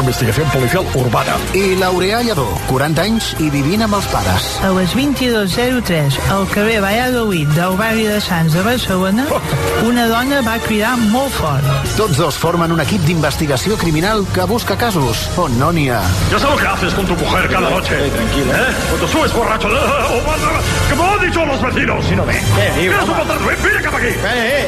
investigación policial urbana. I Laureà Lladó, 40 anys i vivint amb els pares. A les 22.03, al carrer Valladolid del barri de Sants de Barcelona, una dona va cridar molt fort. Tots dos formen un equip d'investigació criminal que busca casos on no n'hi ha. Ya sabes lo que haces con tu mujer cada noche. tranquila. ¿Eh? Cuando subes borracho. ¿Qué me han dicho los vecinos? Si no me. ¿Quieres un fantasma? Mira que aquí. Eh,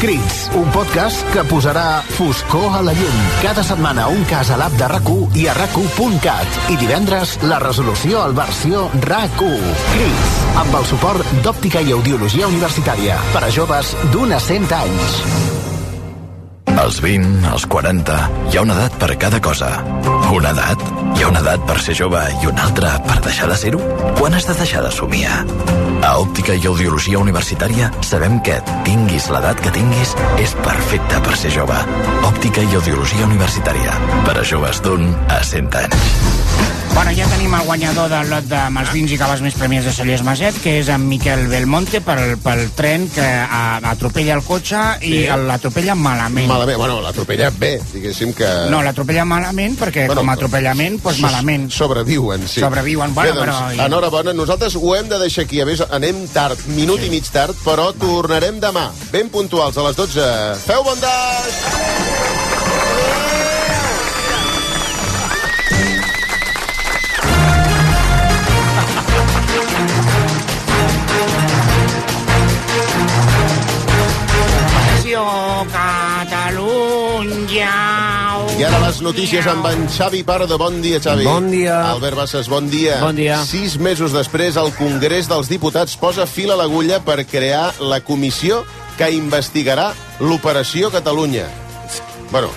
Crits, un podcast que posarà foscor a la llum. Cada setmana un cas a l'app de RAC1 i a rac1.cat. I divendres la resolució al versió RAC1. Crits, amb el suport d'Òptica i Audiologia Universitària per a joves d'una 100 anys. Als 20, als 40, hi ha una edat per cada cosa. Una edat? Hi ha una edat per ser jove i una altra per deixar de ser-ho? Quan has de deixar de somiar? A Òptica i Audiologia Universitària sabem que, tinguis l'edat que tinguis, és perfecta per ser jove. Òptica i Audiologia Universitària. Per a joves d'un a 100 anys. Bueno, ja tenim el guanyador del lot de Mals Vins i Caves més premiats de Sallés Maset, que és en Miquel Belmonte pel, pel tren que a, atropella el cotxe i Sí. sí. l'atropella malament. Malament, bueno, eh, l'atropella bé, diguéssim que... No, l'atropella malament perquè bueno, Bueno, com a atropellament, doncs so- malament. Sobreviuen, sí. Sobreviuen, bueno, Bé, doncs, però- Enhorabona, nosaltres ho hem de deixar aquí. Avís, anem tard, minut i mig tard, però tornarem demà, ben puntuals, a les 12. Feu bon daix! Atenció, Catalunya! I ara les notícies amb en Xavi Pardo. Bon dia, Xavi. Bon dia. Albert Bassas, bon dia. Bon dia. Sis mesos després, el Congrés dels Diputats posa fil a l'agulla per crear la comissió que investigarà l'operació Catalunya. Bueno,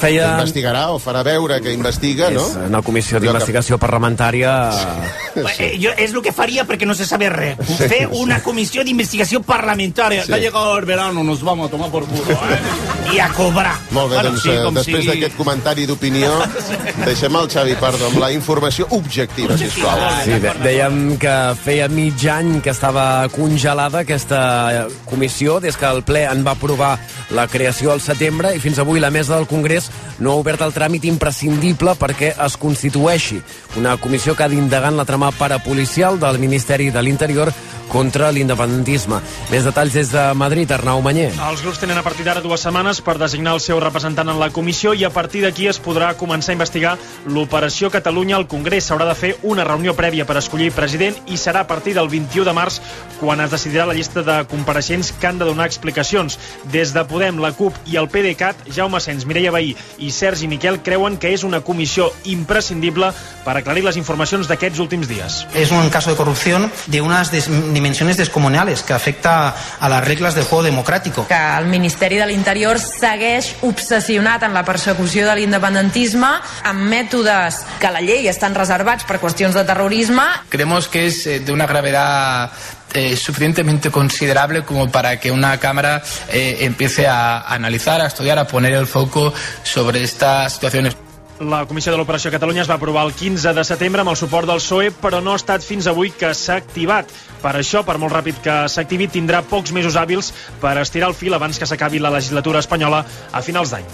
Feia... investigarà o farà veure que investiga, És no? una comissió d'investigació parlamentària... Eh, yo es lo que faría porque no se sabe re. Fe una comisión de investigación parlamentaria. Sí. Ya Ha llegado el verano, nos vamos a tomar por culo. ¿eh? Y a cobrar. Molt bé, Bueno, doncs, sí, eh, com després sigui. d'aquest comentari d'opinió, deixem el Xavi Pardo amb la informació objectiva, sisplau. Sí, de dèiem que feia mig any que estava congelada aquesta comissió des que el ple en va aprovar la creació al setembre i fins avui la mesa del Congrés no ha obert el tràmit imprescindible perquè es constitueixi una comissió que ha d'indagar en la trama parapolicial del Ministeri de l'Interior contra l'independentisme. Més detalls des de Madrid, Arnau Manyer. Els grups tenen a partir d'ara dues setmanes per designar el seu representant en la comissió i a partir d'aquí es podrà començar a investigar l'operació Catalunya al Congrés. S'haurà de fer una reunió prèvia per escollir president i serà a partir del 21 de març quan es decidirà la llista de compareixents que han de donar explicacions. Des de Podem, la CUP i el PDeCAT, Jaume Sens, Mireia Veí i Sergi Miquel creuen que és una comissió imprescindible per aclarir les informacions d'aquests últims dies. es un caso de corrupción de unas des- dimensiones descomunales que afecta a las reglas del juego democrático. que el Ministeri de l'Interior segueix obsessionat en la persecució de l'independentisme amb mètodes que la llei estan reservats per qüestions de terrorisme Creemos que es eh, de una gravedad eh, suficientemente considerable como para que una Cámara eh, empiece a analizar, a estudiar, a poner el foco sobre estas situaciones. La Comissió de l'Operació Catalunya es va aprovar el 15 de setembre amb el suport del PSOE, però no ha estat fins avui que s'ha activat. Per això, per molt ràpid que s'activi, tindrà pocs mesos hàbils per estirar el fil abans que s'acabi la legislatura espanyola a finals d'any.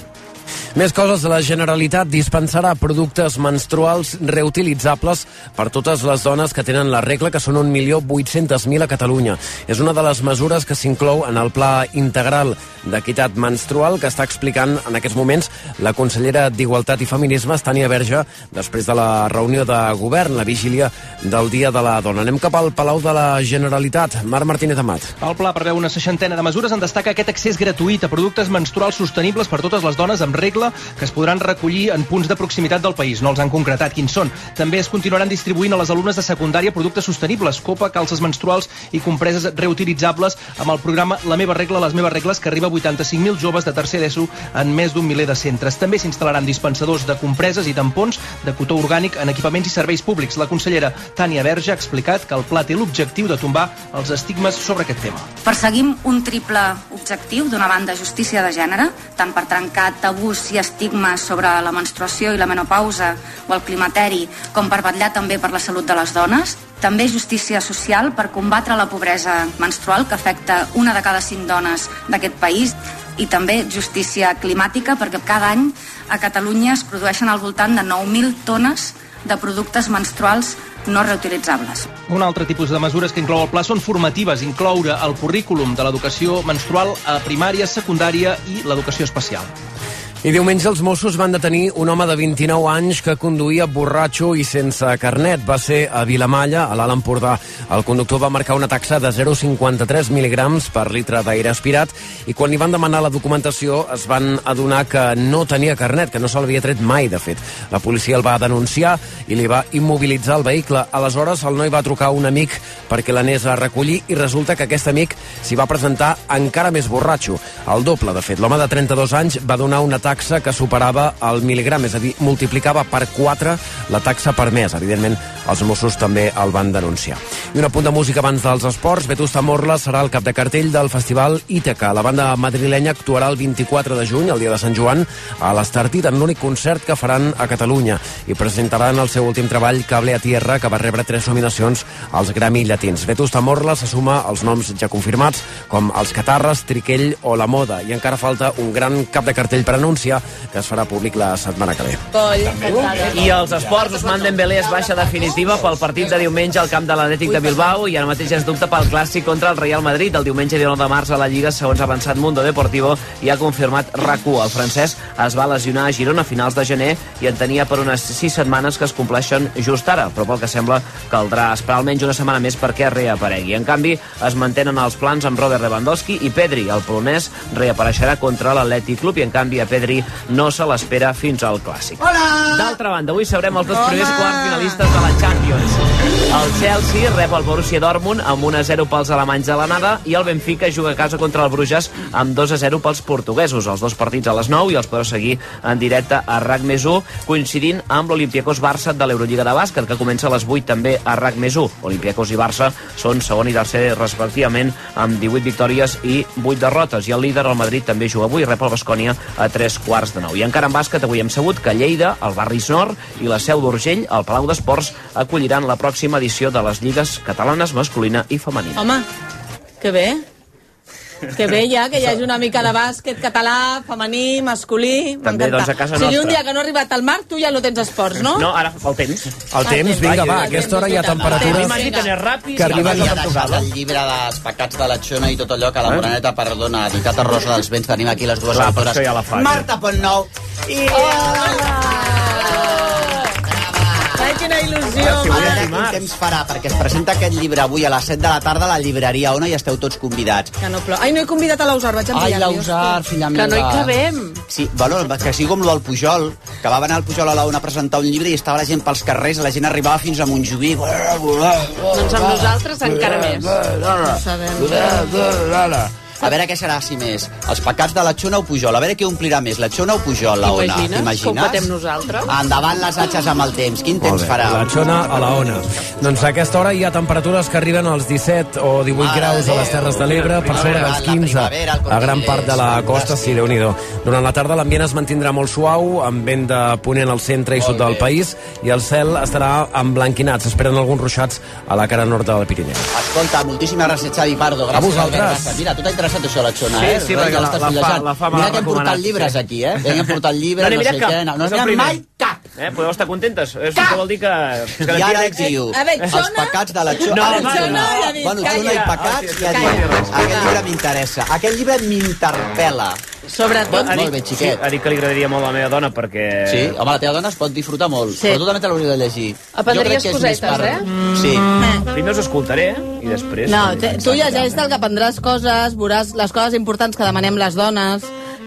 Més coses, la Generalitat dispensarà productes menstruals reutilitzables per totes les dones que tenen la regla, que són 1.800.000 a Catalunya. És una de les mesures que s'inclou en el Pla Integral d'Equitat Menstrual que està explicant en aquests moments la consellera d'Igualtat i Feminismes, Tània Verge, després de la reunió de govern, la vigília del Dia de la Dona. Anem cap al Palau de la Generalitat. Marc Martínez Amat. El pla preveu una seixantena de mesures en destaca aquest accés gratuït a productes menstruals sostenibles per totes les dones amb regla que es podran recollir en punts de proximitat del país. No els han concretat quins són. També es continuaran distribuint a les alumnes de secundària productes sostenibles, copa, calces menstruals i compreses reutilitzables amb el programa La meva regla, les meves regles, que arriba a 85.000 joves de tercer d'ESO en més d'un miler de centres. També s'instal·laran dispensadors de compreses i tampons de cotó orgànic en equipaments i serveis públics. La consellera Tània Verge ha explicat que el pla té l'objectiu de tombar els estigmes sobre aquest tema. Perseguim un triple objectiu, d'una banda justícia de gènere, tant per trencar tabús i estigmes sobre la menstruació i la menopausa o el climateri, com per vetllar també per la salut de les dones. També justícia social per combatre la pobresa menstrual que afecta una de cada cinc dones d'aquest país. i també justícia climàtica perquè cada any a Catalunya es produeixen al voltant de 9.000 tones de productes menstruals no reutilitzables. Un altre tipus de mesures que inclou el pla són formatives, incloure el currículum de l'educació menstrual a primària, secundària i l'educació especial. I diumenge els Mossos van detenir un home de 29 anys que conduïa borratxo i sense carnet. Va ser a Vilamalla, a l'Alt Empordà. El conductor va marcar una taxa de 0,53 mil·lígrams per litre d'aire aspirat i quan li van demanar la documentació es van adonar que no tenia carnet, que no se l'havia tret mai, de fet. La policia el va denunciar i li va immobilitzar el vehicle. Aleshores, el noi va trucar a un amic perquè l'anés a recollir i resulta que aquest amic s'hi va presentar encara més borratxo. El doble, de fet. L'home de 32 anys va donar una taxa taxa que superava el mil·ligram, és a dir, multiplicava per 4 la taxa permès. Evidentment, els Mossos també el van denunciar. I un apunt de música abans dels esports. Vetusta Morla serà el cap de cartell del Festival Ítaca. La banda madrilenya actuarà el 24 de juny, el dia de Sant Joan, a l'Estartit, en l'únic concert que faran a Catalunya. I presentaran el seu últim treball, Cable a Tierra, que va rebre tres nominacions als Grammy Llatins. Vetusta Morla se suma als noms ja confirmats, com els Catarres, Triquell o La Moda. I encara falta un gran cap de cartell per anunciar denúncia que es farà públic la setmana que ve. I als esports, Ousmane Dembélé es baixa definitiva pel partit de diumenge al camp de l'Atlètic de Bilbao i ara mateix es dubta pel clàssic contra el Real Madrid. El diumenge 19 de març a la Lliga, segons ha avançat Mundo Deportivo, i ha confirmat RAC1. El francès es va lesionar a Girona a finals de gener i en tenia per unes 6 setmanes que es compleixen just ara, però pel que sembla caldrà esperar almenys una setmana més perquè reaparegui. En canvi, es mantenen els plans amb Robert Lewandowski i Pedri. El polonès reapareixerà contra l'Atlètic Club i, en canvi, a Pedri Madrid no se l'espera fins al Clàssic. D'altra banda, avui sabrem els dos primers quarts finalistes de la Champions. El Chelsea rep el Borussia Dortmund amb 1-0 pels alemanys a l'anada i el Benfica juga a casa contra el Bruges amb 2-0 pels portuguesos. Els dos partits a les 9 i els podreu seguir en directe a RAC més 1, coincidint amb l'Olimpiakos Barça de l'Eurolliga de Bàsquet, que comença a les 8 també a RAC més 1. Olimpiakos i Barça són segon i tercer respectivament amb 18 victòries i 8 derrotes. I el líder, el Madrid, també juga avui i rep el Bascònia a 3 quarts de nou. I encara en bàsquet avui hem sabut que Lleida, el barri Nord i la Seu d'Urgell, al Palau d'Esports, acolliran la pròxima edició de les lligues catalanes masculina i femenina. Home, que bé. Que bé ja, que hi hagi una mica de bàsquet català, femení, masculí... També, m'encanta. doncs, a casa o sigui, un nostra. dia que no ha arribat al mar, tu ja no tens esports, no? No, ara el temps. El temps, vinga, va, a aquesta hora hi ha temperatures que arriben... a desgast el llibre dels pecats de la Xona i tot allò que la Eh? Moraneta, perdona, editat a Rosa dels Vents, tenim aquí les dues Clar, per autores. això ja la fan. Marta Pontnou Oh, i... Ai, quina il·lusió, A veure quin temps farà, perquè es presenta aquest llibre avui a les 7 de la tarda a la llibreria Ona i esteu tots convidats. Que no plou. Ai, no he convidat a l'Ausar, vaig enviar. Ai, l'Ausar, filla meva. Que no hi cabem. Sí, bueno, que sigui com el del Pujol, que va anar al Pujol a la una a presentar un llibre i estava la gent pels carrers, la gent arribava fins a Montjuïc. Doncs amb nosaltres encara més. No A veure què serà, si més. Els pecats de la Xona o Pujol. A veure què omplirà més, la Xona o Pujol, la Ona. Imagines? Que ho patem nosaltres? Endavant les atxes amb el temps. Quin Molt temps bé, farà? La Xona a la Ona. Doncs a aquesta hora hi ha temperatures que arriben als 17 o 18 Mare graus a les de Terres Déu. de l'Ebre, per sobre Primavera, dels la 15 primavera, el a gran part de la Cortines, costa, sí, déu nhi Durant la tarda l'ambient es mantindrà molt suau, amb vent de ponent al centre i sud del país, i el cel estarà emblanquinat. S'esperen alguns ruixats a la cara nord del Pirineu. Escolta, moltíssimes gràcies, Xavi Pardo. Gràcies, A vosaltres. Albert, gràcies. Mira, tu t'ha interessat això, la Xona, Sí, eh? sí, Roig, perquè la- l'estàs la fa- fullejant. la fa m'ha Mira que hem portat recomanat, llibres sí. aquí, eh? Hem portat llibres, no, n'he sé mirat cap. què. No, no És n'hi el ha primer. mai cap. Eh, podeu estar contentes. Cap. Això vol dir que... que I garantia ara et d'èxit. diu, els pecats de la Xona... No, Ah, no, no, no. ja dic, Bueno, Xona i calla. Ah, pecats, ja Calla. diu. Aquest llibre m'interessa. Aquest llibre m'interpel·la. Ah, Sobretot... Ha dit- Molt bé, xiquet. Sí, ha dit que li agradaria molt a la meva dona perquè... Sí, home, la teva dona es pot disfrutar molt, Sí. però tu també te l'hauries de llegir. Aprendries cosetes, eh? Mm. Sí. Primer us escoltaré i després... No, te, tu llegeix del que aprendràs coses, veuràs les coses importants que demanem les dones,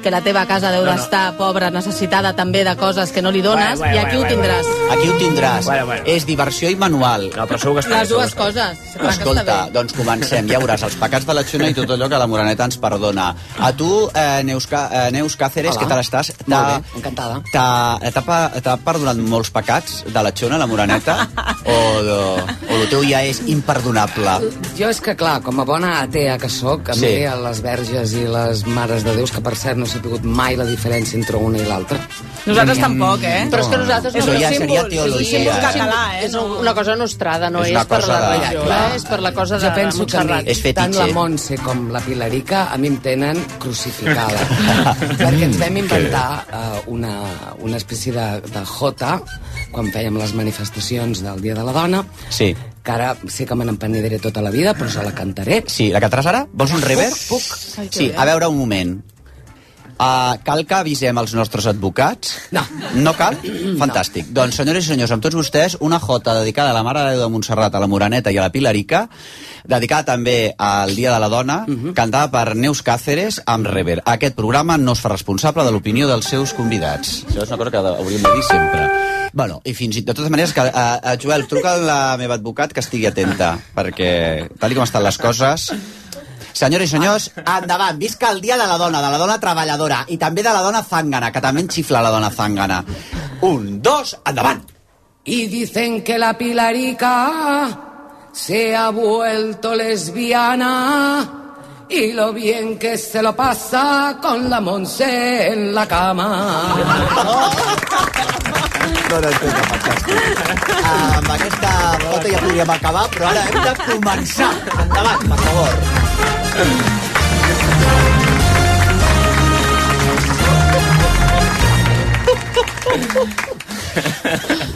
que la teva casa deu No, no. d'estar pobra, necessitada també de coses que no li dones, Bueno, bueno, i aquí bueno, ho tindràs. Aquí ho tindràs. És diversió i manual. No, però segur Les dues coses. Clar que està Escolta, bé. doncs comencem. Ja veuràs els pecats de la Xona i tot allò que la Moraneta ens perdona. A tu, eh, Neus, Ca- eh, Neus Cáceres, Hola. què tal estàs? T'ha- Molt bé, encantada. t'ha- T'ha pa- t'ha perdonat molts pecats de la Xona, la Moraneta? o, o, o el teu ja és imperdonable? Jo és que, clar, com a bona atea que sóc, a Sí. sí. mi a les verges i les mares de déus, que per cert no sé sabut mai la diferència entre una i l'altra. Nosaltres tampoc, eh? Mm. Però és que nosaltres Això no ja és un seria símbol. És un símbol teologia, eh? català, eh? És un- una cosa nostrada, no És és, una per la cosa de- religió, clar. eh? És per la cosa de, Jo de penso que a Montserrat. mi, tant la Montse com la Pilarica, a mi em tenen crucificada. perquè Mm, ens vam inventar uh, una, una espècie de, de jota quan fèiem les manifestacions del Dia de la Dona, Sí. que ara sé que me n'empenediré tota la vida, però se la cantaré. Sí, la cantaràs ara? Vols un revers? Puc, puc. Sí, a veure un moment. Uh, cal que avisem els nostres advocats? No. No cal? Fantàstic. Doncs, senyores i senyors, amb tots vostès, una jota dedicada a la Mare de Déu de Montserrat, a la Moraneta i a la Pilarica, dedicada també al Dia de la Dona, cantada per Neus Càceres amb Rever. Aquest programa no es fa responsable de l'opinió dels seus convidats. Això és una cosa que hauríem de dir sempre. Bueno, i fins i tot, de totes maneres, que, uh, uh, Joel, truca a la meva advocat que estigui atenta, perquè tal i com estan les coses, Senyores i senyors, endavant. Visca el dia de la dona, de la dona treballadora i també de la dona zangana, que també en xifla la dona zangana. Un, dos, endavant. Y dicen que la Pilarica se ha vuelto lesbiana y lo bien que se lo pasa con la Monse en la cama. No, no, no, Amb aquesta volta ja podríem acabar, però ara hem de començar. Endavant, per favor.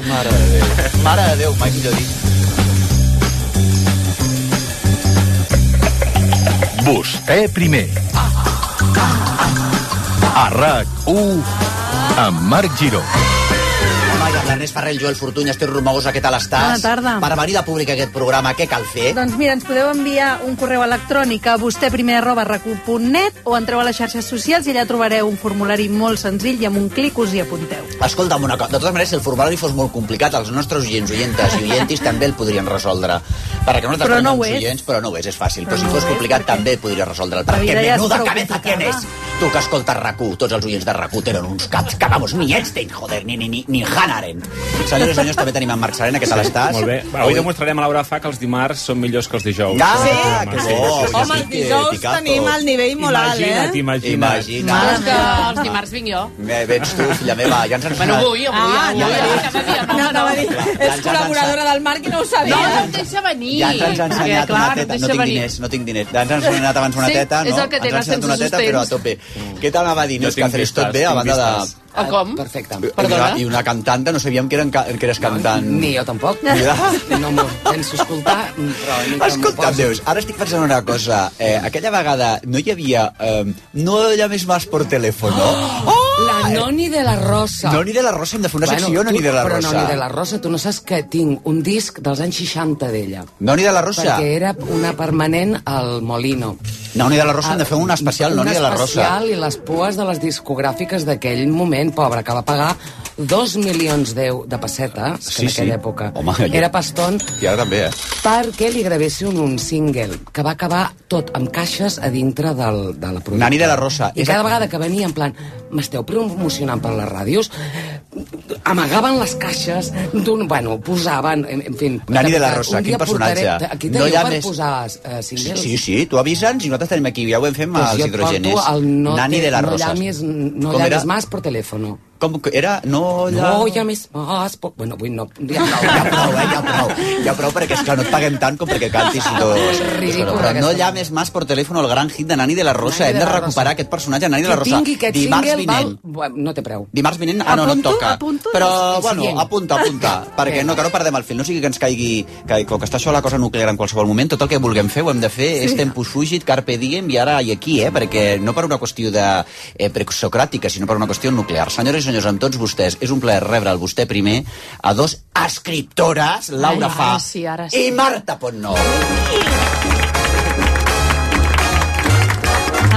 Mare de Déu. Mare de Déu, mai millor dit. Vostè eh, primer. A RAC1 amb Marc Giró. Home, i amb l'Ernest Ferrer, el Joel Fortuny, Esther Romagosa, què tal estàs? Bona tarda. Per venir de públic a aquest programa, què cal fer? Doncs mira, ens podeu enviar un correu electrònic a vostèprimer arroba recu.net o entreu a les xarxes socials i allà trobareu un formulari molt senzill i amb un clic us hi apunteu. Escolta'm una cosa, de totes maneres, si el formulari fos molt complicat, els nostres oients, oientes i oientis també el podrien resoldre. Perquè nosaltres Però tenim no uns ho és. oients, però no ho és, és fàcil. Però, si fos complicat també el podria resoldre. La Perquè vida ja és menuda prou cabeza tienes. Tu que escoltes RAC1, tots els oients de RAC1 tenen uns caps que, vamos, ni Einstein, joder, ni, ni, ni, ni Hannah Arendt. Senyores i senyors, també tenim en Marc Serena, què tal estàs? Molt bé. Avui demostrarem a Laura Fa que els dimarts són millors que els dijous. Ah, sí? Que bo, sí. Home, els dijous tenim el nivell molt alt, Imagina't, eh? imagina't. Mare imagina't. meva. Els dimarts vinc jo. Bé, vens tu, filla meva, ja ens has Bueno, avui, avui. Ah, avui, ja avui, veus. cada dia, no, no, És col·laboradora del Marc i no ho No, sabia. no em deixa venir. Ja ens han Perquè, ensenyat clar, una teta, et no deixa tinc venir. diners, no tinc diners. Ja ens han ensenyat abans una Sí, tenen, és no? el que té, Ens han gastem ensenyat una teta, sus però a temps. tope. Mm. Què tal anava a dir? No, tinc Cáceres, tot vistes, bé, a tinc banda de... O Ah, com? Perfecte. Perdona? I una cantant que no sabíem que, eren, ca- que eres cantant. Ni jo tampoc. No m'ho penso escoltar, però ni que m'ho Escolta, poso. Déus, ara estic pensant una cosa. Eh, aquella vegada no hi havia... Eh, no llames más por teléfono. Ah! La Noni de la Rosa. Noni de la Rosa, hem de fer una secció tu- Noni de la però Rosa. Però Noni de la Rosa, tu no saps que tinc un disc dels anys 60 d'ella. Noni de la Rosa? Perquè era una permanent al Molino. Noni de la Rosa, hem de fer un especial Noni de la Ah, Un Rosa. especial i les pues de les discogràfiques d'aquell moment, pobre, que va pagar dos milions d'eu de pessetes, que Sí, en aquella sí. època Home, jo- era pastón, I ara també, eh? perquè li gravessin un single que va acabar tot amb caixes a dintre del, de la productora. Nani de la Rosa. I És cada a- vegada que venia en plan m'esteu promocionant per les ràdios amagaven les caixes d'un... Bueno, posaven... En, en fi, Nani de la veritat, Rosa, un quin dia personatge. Portaré, aquí No teniu hi ha no per més- més... posar uh, singles. Sí, sí, tu avisa'ns i nosaltres tenim aquí. Ja ho vam fer amb els Pues Doncs jo et hidrogeners. porto el no Nani te- de la no Rosa. llamis- no Com llamis era? más por teléfono. Com que era? No, No, ja... ja més... Mas, po... Bueno, avui no... Ja, ja prou, eh? Ja prou. Ja prou, perquè és que no et paguem tant com perquè cantis i dos. Ridícula, Però no aquesta. llames más por teléfono el gran hit de Nani de la Rosa. Nani Hem de de la Rosa. recuperar aquest personatge, Nani de la Qui Rosa. tingui aquest Dimarts single vinent. val... Bueno, No té preu. Dimarts vinent, ah, no, no et Apunto? toca. Apunto? Però, El bueno, siguient. apunta, apunta, perquè no, que no perdem el fil. No sigui que ens caigui, que, com que està això la cosa nuclear en qualsevol moment, tot el que vulguem fer ho hem de fer, sí. és tempus fugit, carpe diem, i ara i aquí, eh? Perquè no per una qüestió de eh, presocràtica, sinó per una qüestió nuclear. Senyores i senyors, amb tots vostès, és un plaer rebre el vostè primer a dos escriptores, Laura Ai, Fa Ara sí, ara sí. i Marta Pontnou.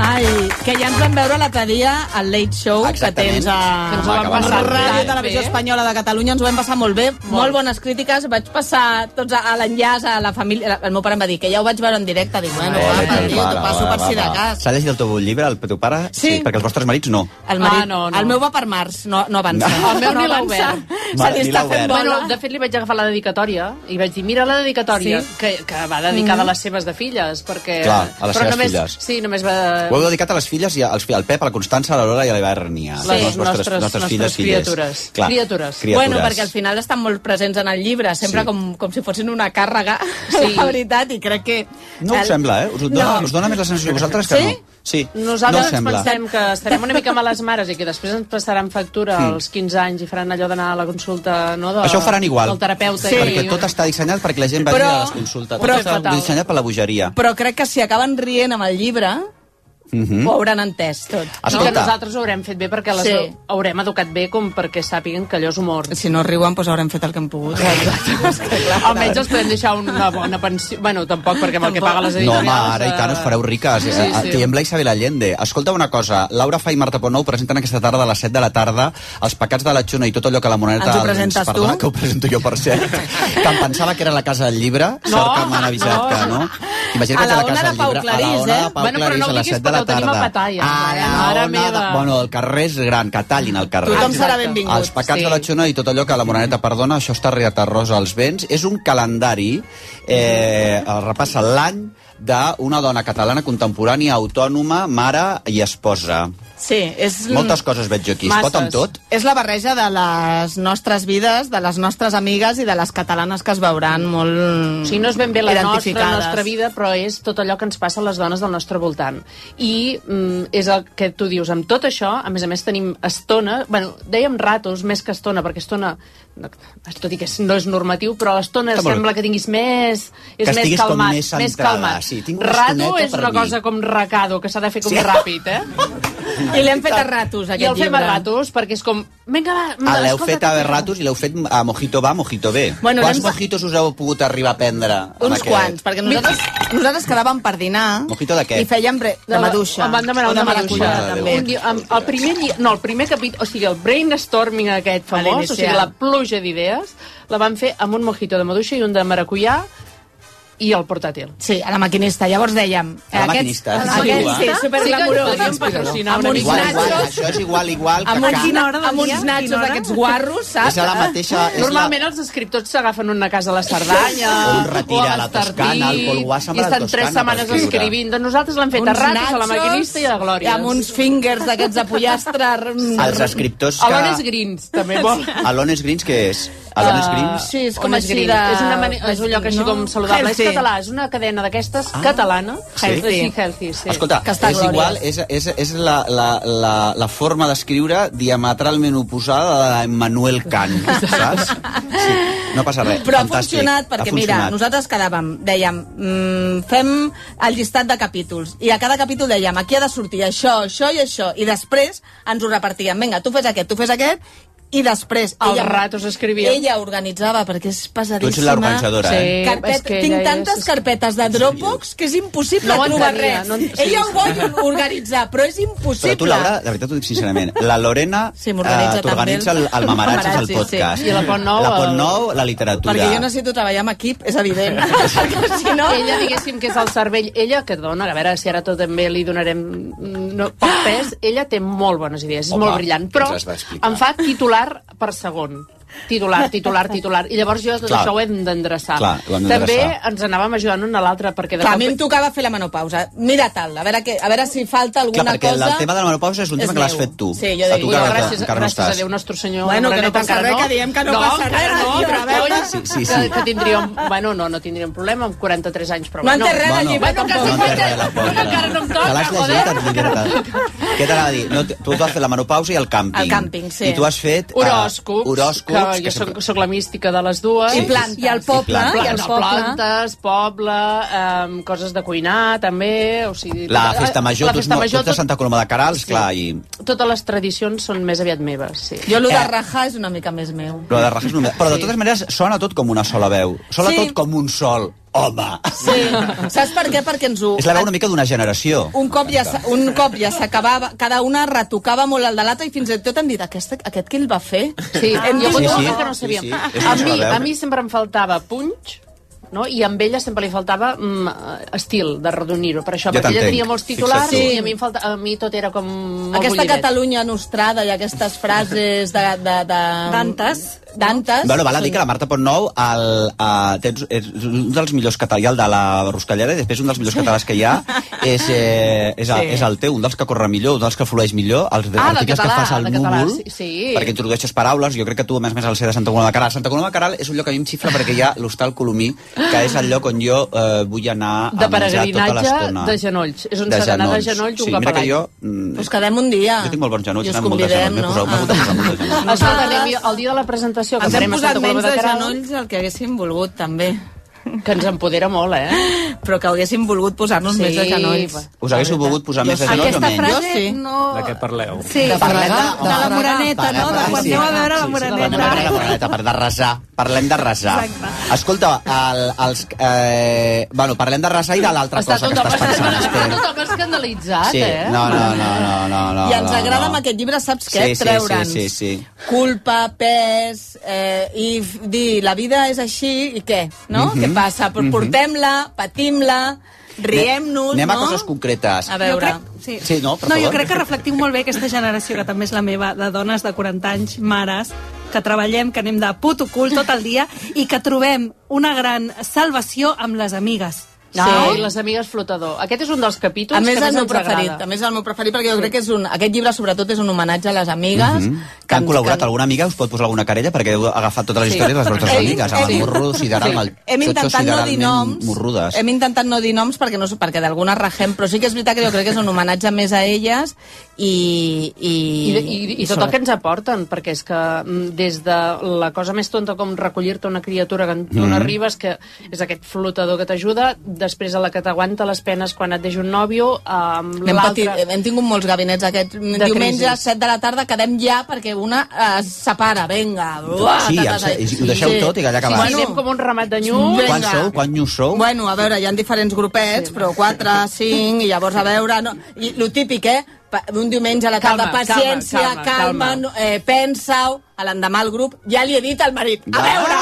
Ai, que ja ens vam veure l'altre dia al Late Show Exactament. que tens a... Que ens ho vam Va, que vam passar anar molt Ràdio bé. Televisió Espanyola de Catalunya, ens ho vam passar molt bé, molt, molt bones crítiques, vaig passar tots a, a l'enllaç a la família, el meu pare em va dir que ja ho vaig veure en directe, dic, bueno, va, Ole, per teu tio, pare, t'ho passo va, per va, si de va. cas. S'ha llegit el teu llibre, el teu pare? Sí. sí. Perquè els vostres marits no. El, marit, ah, no, no. el meu va per març, no, no avança. No. El meu ni l'ha avança. obert. Se Mare, li ni està l'ha fent obert. bola. Bueno, de fet, li vaig agafar la dedicatòria i vaig dir, mira la dedicatòria Sí. sí. que, que va dedicada Mhm. a les seves de filles, perquè... Clar, a les però seves només, filles. Sí, només va... Ho heu dedicat a les filles, i els, fi- el Pep, la Constança, la Lola i l'Ivernia. Sí, nostres- nostres criatures. Clar, criatures. criatures. Bueno, perquè al final estan molt presents en el llibre, sempre Sí. sí. com, com si fossin una càrrega, sí. la veritat, i crec que... No us sembla, eh? Us dona, No. us dona més la sensació a vosaltres que Sí? no. Sí, no Nosaltres us sembla. pensem que estarem una mica males mares i que després ens passaran factura Mm. als 15 anys i faran allò d'anar a la consulta no, de, Això ho faran igual. del terapeuta. Sí. i- Perquè tot està dissenyat perquè la gent vagi Però- a les consultes. però- tot està fatal. dissenyat per la bogeria. Però crec que si acaben rient amb el llibre, Mhm. ho hauran entès tot. I que Escolta. nosaltres ho haurem fet bé perquè les Sí. sí. haurem educat bé com perquè sàpiguen que allò és humor. Si no riuen, doncs haurem fet el que hem pogut. Almenys els podem deixar una bona pensió. Bueno, tampoc, perquè amb el que paga les No, editorials... home, ara i eh? tant us fareu riques. Eh, Sí, Sí, sí. sí. Tiembla Isabel Allende. Escolta una cosa, Laura Fa i Marta Ponou presenten aquesta tarda a les 7 de la tarda els pecats de la Xuna i tot allò que la Moreneta... Ens ho presentes ens perdona, tu? que ho presento jo, per cert. que em pensava que era la Casa del Llibre, no, cert que m'han avisat no. que no. Imagina que A és a la la ona Casa de del Pau Llibre, a la Clarís, ona de eh? Pau Bueno, però no ho Clarís a les diguis 7 de la perquè ho tenim tarda. a Pattaya. A la Mare ona de... meva. Bueno, el carrer és gran, que tallin el carrer. Tothom serà benvingut, Els pecats sí. de la Xuna i tot allò que la Moreneta perdona, això està reat a Rosa als vents. És un calendari, eh, el repassa l'any d'una dona catalana contemporània, autònoma, mare i esposa. Sí, és... Moltes coses veig jo aquí. Es pot amb tot? És la barreja de les nostres vides, de les nostres amigues i de les catalanes que es veuran molt O sigui, no és ben bé la nostra, identificades. nostra vida, però és tot allò que ens passa a les dones del nostre voltant. I mm, és el que tu dius, amb tot això, a més a més tenim estona, bueno, dèiem ratos més que estona, perquè estona, no, tot i que és- no és normatiu, però l'estona Està Ah, molt sembla bé. que tinguis més... Que És més estiguis com calmat, més centrada, calmat. sí, tinc una Rato estoneta és per una mi. cosa com recado, que s'ha de fer com Sí. ràpid, eh? I l'hem fet a ratos, I aquest el fem a llibre. ratos, perquè és com... Vinga, va, Ah, L'heu escolta, fet a ratos i l'heu fet a mojito va, mojito ve. Bueno, Quants anem- mojitos us heu pogut arribar a prendre? amb Uns aquest? quants, perquè nosaltres, nosalres quedàvem per dinar Mojito de què? i fèiem bre... de maduixa. Em van demanar O una maduixa, maracujá, també. Un dia, amb- el primer, lli- no, el primer capítol, o sigui, el brainstorming aquest A famós, o l'inicial. sigui, la pluja d'idees, la van fer amb un mojito de maduixa i un de maracuyà i el portàtil. Sí, a la maquinista. Llavors dèiem... A la maquinista. Aquests, aquests, sí, superglamurós. Sí que ens podríem patrocinar Amb una uns mica. Igual, igual, nachos, això és igual, igual que amb uns, cap. hora amb uns nachos d'aquests guarros, saps? És a la mateixa... És la, Normalment els escriptors s'agafen una casa a la Cerdanya O un retira o a la Toscana, el Paul Wasserman i a la estan tres Toscana setmanes per escriure. escrivint. Doncs nosaltres l'hem fet a ratos, a la maquinista i a la Glòria. Amb uns fingers d'aquests de pollastre. Els escriptors que- Alones Greens, també vol. Alones Greens, què és? Alones Greens? Ah, Sí, és com Ones així Green. de... És, una mani... és un lloc així com saludable. Healthy. És català, és una cadena d'aquestes catalana. Sí? Ah, Sí, healthy, sí. Escolta, és igual, és, és, és la, la, la, la forma d'escriure diametralment oposada a la Manuel Kant, saps? Sí, no passa res. Però ha fantàstic, funcionat, perquè ha funcionat. mira, nosaltres quedàvem, dèiem, mm, fem el llistat de capítols, i a cada capítol dèiem, aquí ha de sortir això, això i això, i després ens ho repartíem, vinga, tu fes aquest, tu fes aquest, i després... Els ratos escrivíem. Ella organitzava, perquè és pesadíssima. Tu ets l'organitzadora, Sí, eh? Carpet, és que tinc ella tantes és- carpetes de Dropbox que és impossible No ho trobar entenia, res. no en- sí. Ella ho vol organitzar, però és impossible. Però tu, Laura, la veritat t'ho dic sincerament, la Lorena Sí, eh, m'organitza t'organitza també el, el- el mamaratge al Mamaratxes, podcast. sí. I la Pont Nou, La Pont el- Nou, la literatura. Perquè jo necessito treballar amb equip, és evident. Perquè si no... Ella, diguéssim, que és el cervell. Ella, que dona, a veure si ara tot també li donarem mm, no, poc Ah! pes, ella té molt bones idees, és Home, molt brillant, però ens has d'explicar. em fa titular per segon. Titular, titular, titular. I llavors jo tot Clar. això ho hem d'endreçar. Clar, ho hem També d'endreçar. ens anàvem ajudant una a l'altra perquè de Clar, a mi em tocava fer la menopausa. Mira tal, a veure, què, a veure si falta Clar, alguna perquè cosa... el tema de la menopausa és un és tema que l'has meu. fet tu. Sí, A jo dic, tu ui, encara, gràcies- encara no gràcies estàs. a Déu, nostre senyor. Bueno, que no Moreneta, passa encara res, que diem que no passa encara res, No, tio, però a veure. sí, Sí, sí, Que, sí. que tindríem... Bueno, no, no tindríem problema amb 43 anys, però No en bueno. té res de llibre, Bueno, que tampoc. sí, No en té res de la que pobre. encara no em toca, Te l'has llegit, Tota joder. et llibreta. Què t'anava a dir? No, t- tu vas fer la menopausa i el càmping. El càmping, sí. I tu has fet... eh, Horòscops, horòscops que, jo soc, soc la mística de les dues. Sí, I plantes. I el poble, I, i el plantes, poble. plantes, poble, um, coses de cuinar, també. O sigui, La tot- festa major, la tu ets, festa mo- tu major ets de tot, Santa Coloma de Carals, clar, i... totes les tradicions són més aviat meves, sí. Jo, allò Eh. de rajar és una mica més meu. Però de, rajas només- però de totes maneres sona tot com una sola veu. Sona Sí. tot com un sol home. Sí. Saps per què? Perquè ens ho... És la veu una mica d'una generació. Un cop ja, s'ha- un cop ja s'acabava, cada una retocava molt el de l'altra i fins i tot hem dit, aquest, aquest qui el va fer? Sí, ah, jo sí, sí, que no Sí, sabíem. sí, Sí, és sí, una a, sola mi, veu. a mi sempre em faltava punx, no? i amb ella sempre li faltava mm, estil de redonir-ho, per això, Ja perquè ella t'entenc. tenia molts titulars Fixa't tu. i a mi, em falta, a mi tot era com molt Aquesta bullidet. Catalunya nostrada i aquestes frases de... de, de... Dantes? Dantes. Bueno, val a dir que la Marta Pontnou el, eh, tens, és un dels millors català, el de la Ruscallera, i després un dels millors catalans que hi ha és, eh, és, el, Sí. és el teu, un dels que corre millor, un dels que flueix millor, els de- Ah, del articles català, que fas al del català, núvol, sí, sí. perquè introdueixes paraules, jo crec que tu, a més a més, el ser de Santa Coloma de Caral. Santa Coloma de Caral és un lloc que a mi em xifra perquè hi ha l'hostal Colomí, que és el lloc on jo eh, vull anar De a menjar tota peregrinatge l'estona. de genolls. És on s'ha d'anar de genolls un sí, cop mira a que l'any. jo, mm, Us Doncs quedem un dia. jo tinc molt bons genolls, I us tenen molt de convidem, genolls, m'he no? posat, m'he posat, m'he posat, m'he posat. Escolta, anem el dia de la presentació que Ens hem farem a posat Santa Coloma menys de de Queralt. genolls del que haguéssim volgut, també. Que ens empodera molt, eh? Però que haguéssim volgut posar-nos Sí, més de genolls. va. Us haguéssiu volgut posar més de genolls o Aquesta menys? frase sí. no... De què parleu? Sí, de, de, la moraneta, no? De quan aneu a veure la Parlem de moraneta. moraneta, per de resar. Parlem de resar. Exacte. Escolta, el, els, eh, bueno, parlem de resar i de l'altra Està cosa que estàs pensant, Esther. Tothom escandalitzat, Sí, eh? no, no, no, no, no, no. I ens no, agrada no. amb aquest llibre, saps Sí, què? sí, Treure'ns Sí, sí, sí. culpa, pes, eh, i f- dir la vida és així i què, no? Mhm. Què passa? Però Mhm. portem-la, patim-la, riem-nos, Anem no? a coses concretes. A veure. Jo crec, sí. Sí, no, per no, jo favor. crec que reflectiu molt bé aquesta generació, que també és la meva, de dones de 40 anys, mares, que treballem, que anem de puto cul tot el dia i que trobem una gran salvació amb les amigues. No, i les amigues flotador. Aquest és un dels capítols A més, que el més meu ens preferit. agrada. A més, el meu preferit, perquè jo crec que és un, aquest llibre, sobretot, és un homenatge a les amigues. Mm Mhm. Que han col·laborat alguna amiga? Us pot posar alguna querella? Perquè heu agafat totes les Sí. històries de les vostres Hem- amigues, amb el hem- morro sideral, amb el Hem xotxo intentat no dir sideralment noms. morrudes. Hem intentat no dir noms perquè, no, sé, perquè d'alguna regem, però sí que és veritat que jo crec que és un homenatge més a elles i... I, I, i, i tot el que ens aporten, perquè és que mm, des de la cosa més tonta com recollir-te una criatura que tu Mhm. no arribes, que és aquest flotador que t'ajuda, després a la que t'aguanta les penes quan et deixa un nòvio, amb Hem, eh, patit, l'altre... hem tingut molts gabinets aquest De diumenge a crisis. 7 de la tarda quedem ja perquè una eh, es separa, vinga Sí, ens- ho deixeu tot i que allà acabem. acabem. anem com un ramat de Vinga. Quan sou? Quan nyu sou? Bueno, a veure, hi ha diferents grupets, però 4, 5, i llavors a veure... No, I lo típic, eh? Pa- Un diumenge a la tarda, Calma, calma, paciència, calma, calma, calma, calma. No, eh, pensa-ho, a l'endemà al grup, ja li he dit al marit, a veure...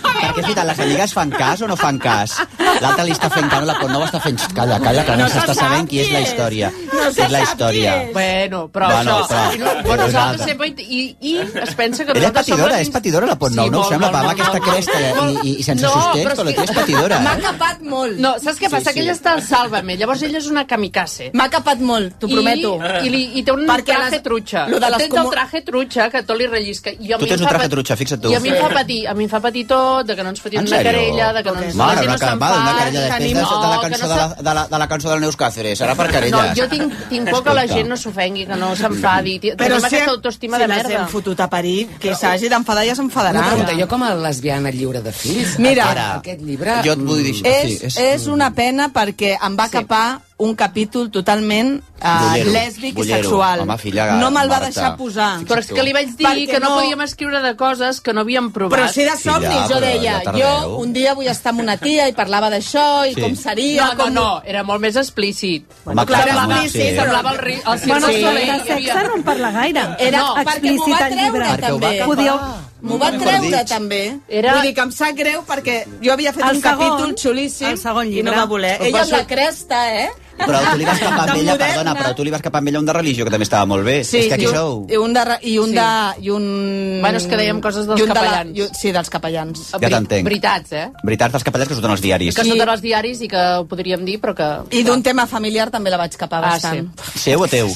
Perquè és veritat, les amigues fan cas o no fan cas? L'altra li està fent cas, la Portnova està fent... "Xxt, Calla, calla, que no, No se s'està sap sabent qui és la història. Qui és la història. Bueno, però Bueno, això... però- i no- bueno, nosaltres Nosaltres. sempre... I, I es pensa que Ella és nosaltres som patidora, les- és patidora la Portnou, no? Ho sembla, va, amb aquesta cresta eh? i- i- i sense sostens, però és però la que- tia és patidora, eh? M'ha capat molt. No, saps què Sí, passa? sí. Que ella està al Sálvame, llavors ella és una kamikaze. M'ha capat molt, t'ho prometo. I, li, I té un Perquè traje les- trutxa. lo de les Tens comu- el traje trutxa que tot li rellisca. I a Tu mi tens em un fa traje pat- trutxa, fixa't tu. I a mi em fa patir, a mi em fa patir tot, de que no ens foti En una sèrio? querella, de que no ens Mare, la gent una no ca- va, una querella s'enfadi, després de, de, la cançó de la, de, la, de la cançó del Neus Cáceres, serà per No, querelles. jo tinc, tinc por que la Escolta. gent no s'ofengui, que no s'enfadi. Però Tenim aquesta autoestima de Si les merda. hem fotut a parir, que s'hagi d'enfadar ja s'enfadarà. Una pregunta, jo com a lesbiana lliure de fills, Mira. aquest, aquest llibre... Jo et vull dir- Mm, és, és, és una pena perquè em va sí. capar un capítol totalment uh, Bullero, lèsbic bullero. i sexual. Home, filla, no me'l va Marta. deixar posar. Però és que li vaig dir Perquè que no, podíem escriure de coses que no havíem provat. Però si de somnis, Filla, jo però deia, ja tardeu. jo un dia vull estar amb una tia i parlava d'això i Sí. com seria... No, no, com... no, era molt més explícit. Home, clar, semblava, sí, sí. semblava el, ri, el circo Bueno, sí. sobre el sexe no en parla gaire. Era No, perquè m'ho explícit va el llibre. treure, també. Podíeu... M'ho va treure, també. Era- Vull dir que em sap greu perquè jo havia fet El segon- un capítol xulíssim el segon i no llibre. va voler. Ho Ella amb poso- la cresta, eh? Però tu li vas cap amb Tan ella, moderna. perdona, però tu li vas cap amb ella un de religió, que també estava molt bé. és que aquí i un, sou... I un de... ra- I un Sí. sí. de i un... Bueno, és que dèiem coses dels i un de la- capellans. i un- sí, dels capellans. Ja t'entenc. Veritats, eh? Veritats dels capellans que surten als diaris. Que són dels diaris i que ho podríem dir, però que... I d'un tema familiar també la vaig capar Ah, bastant. Seu o teu?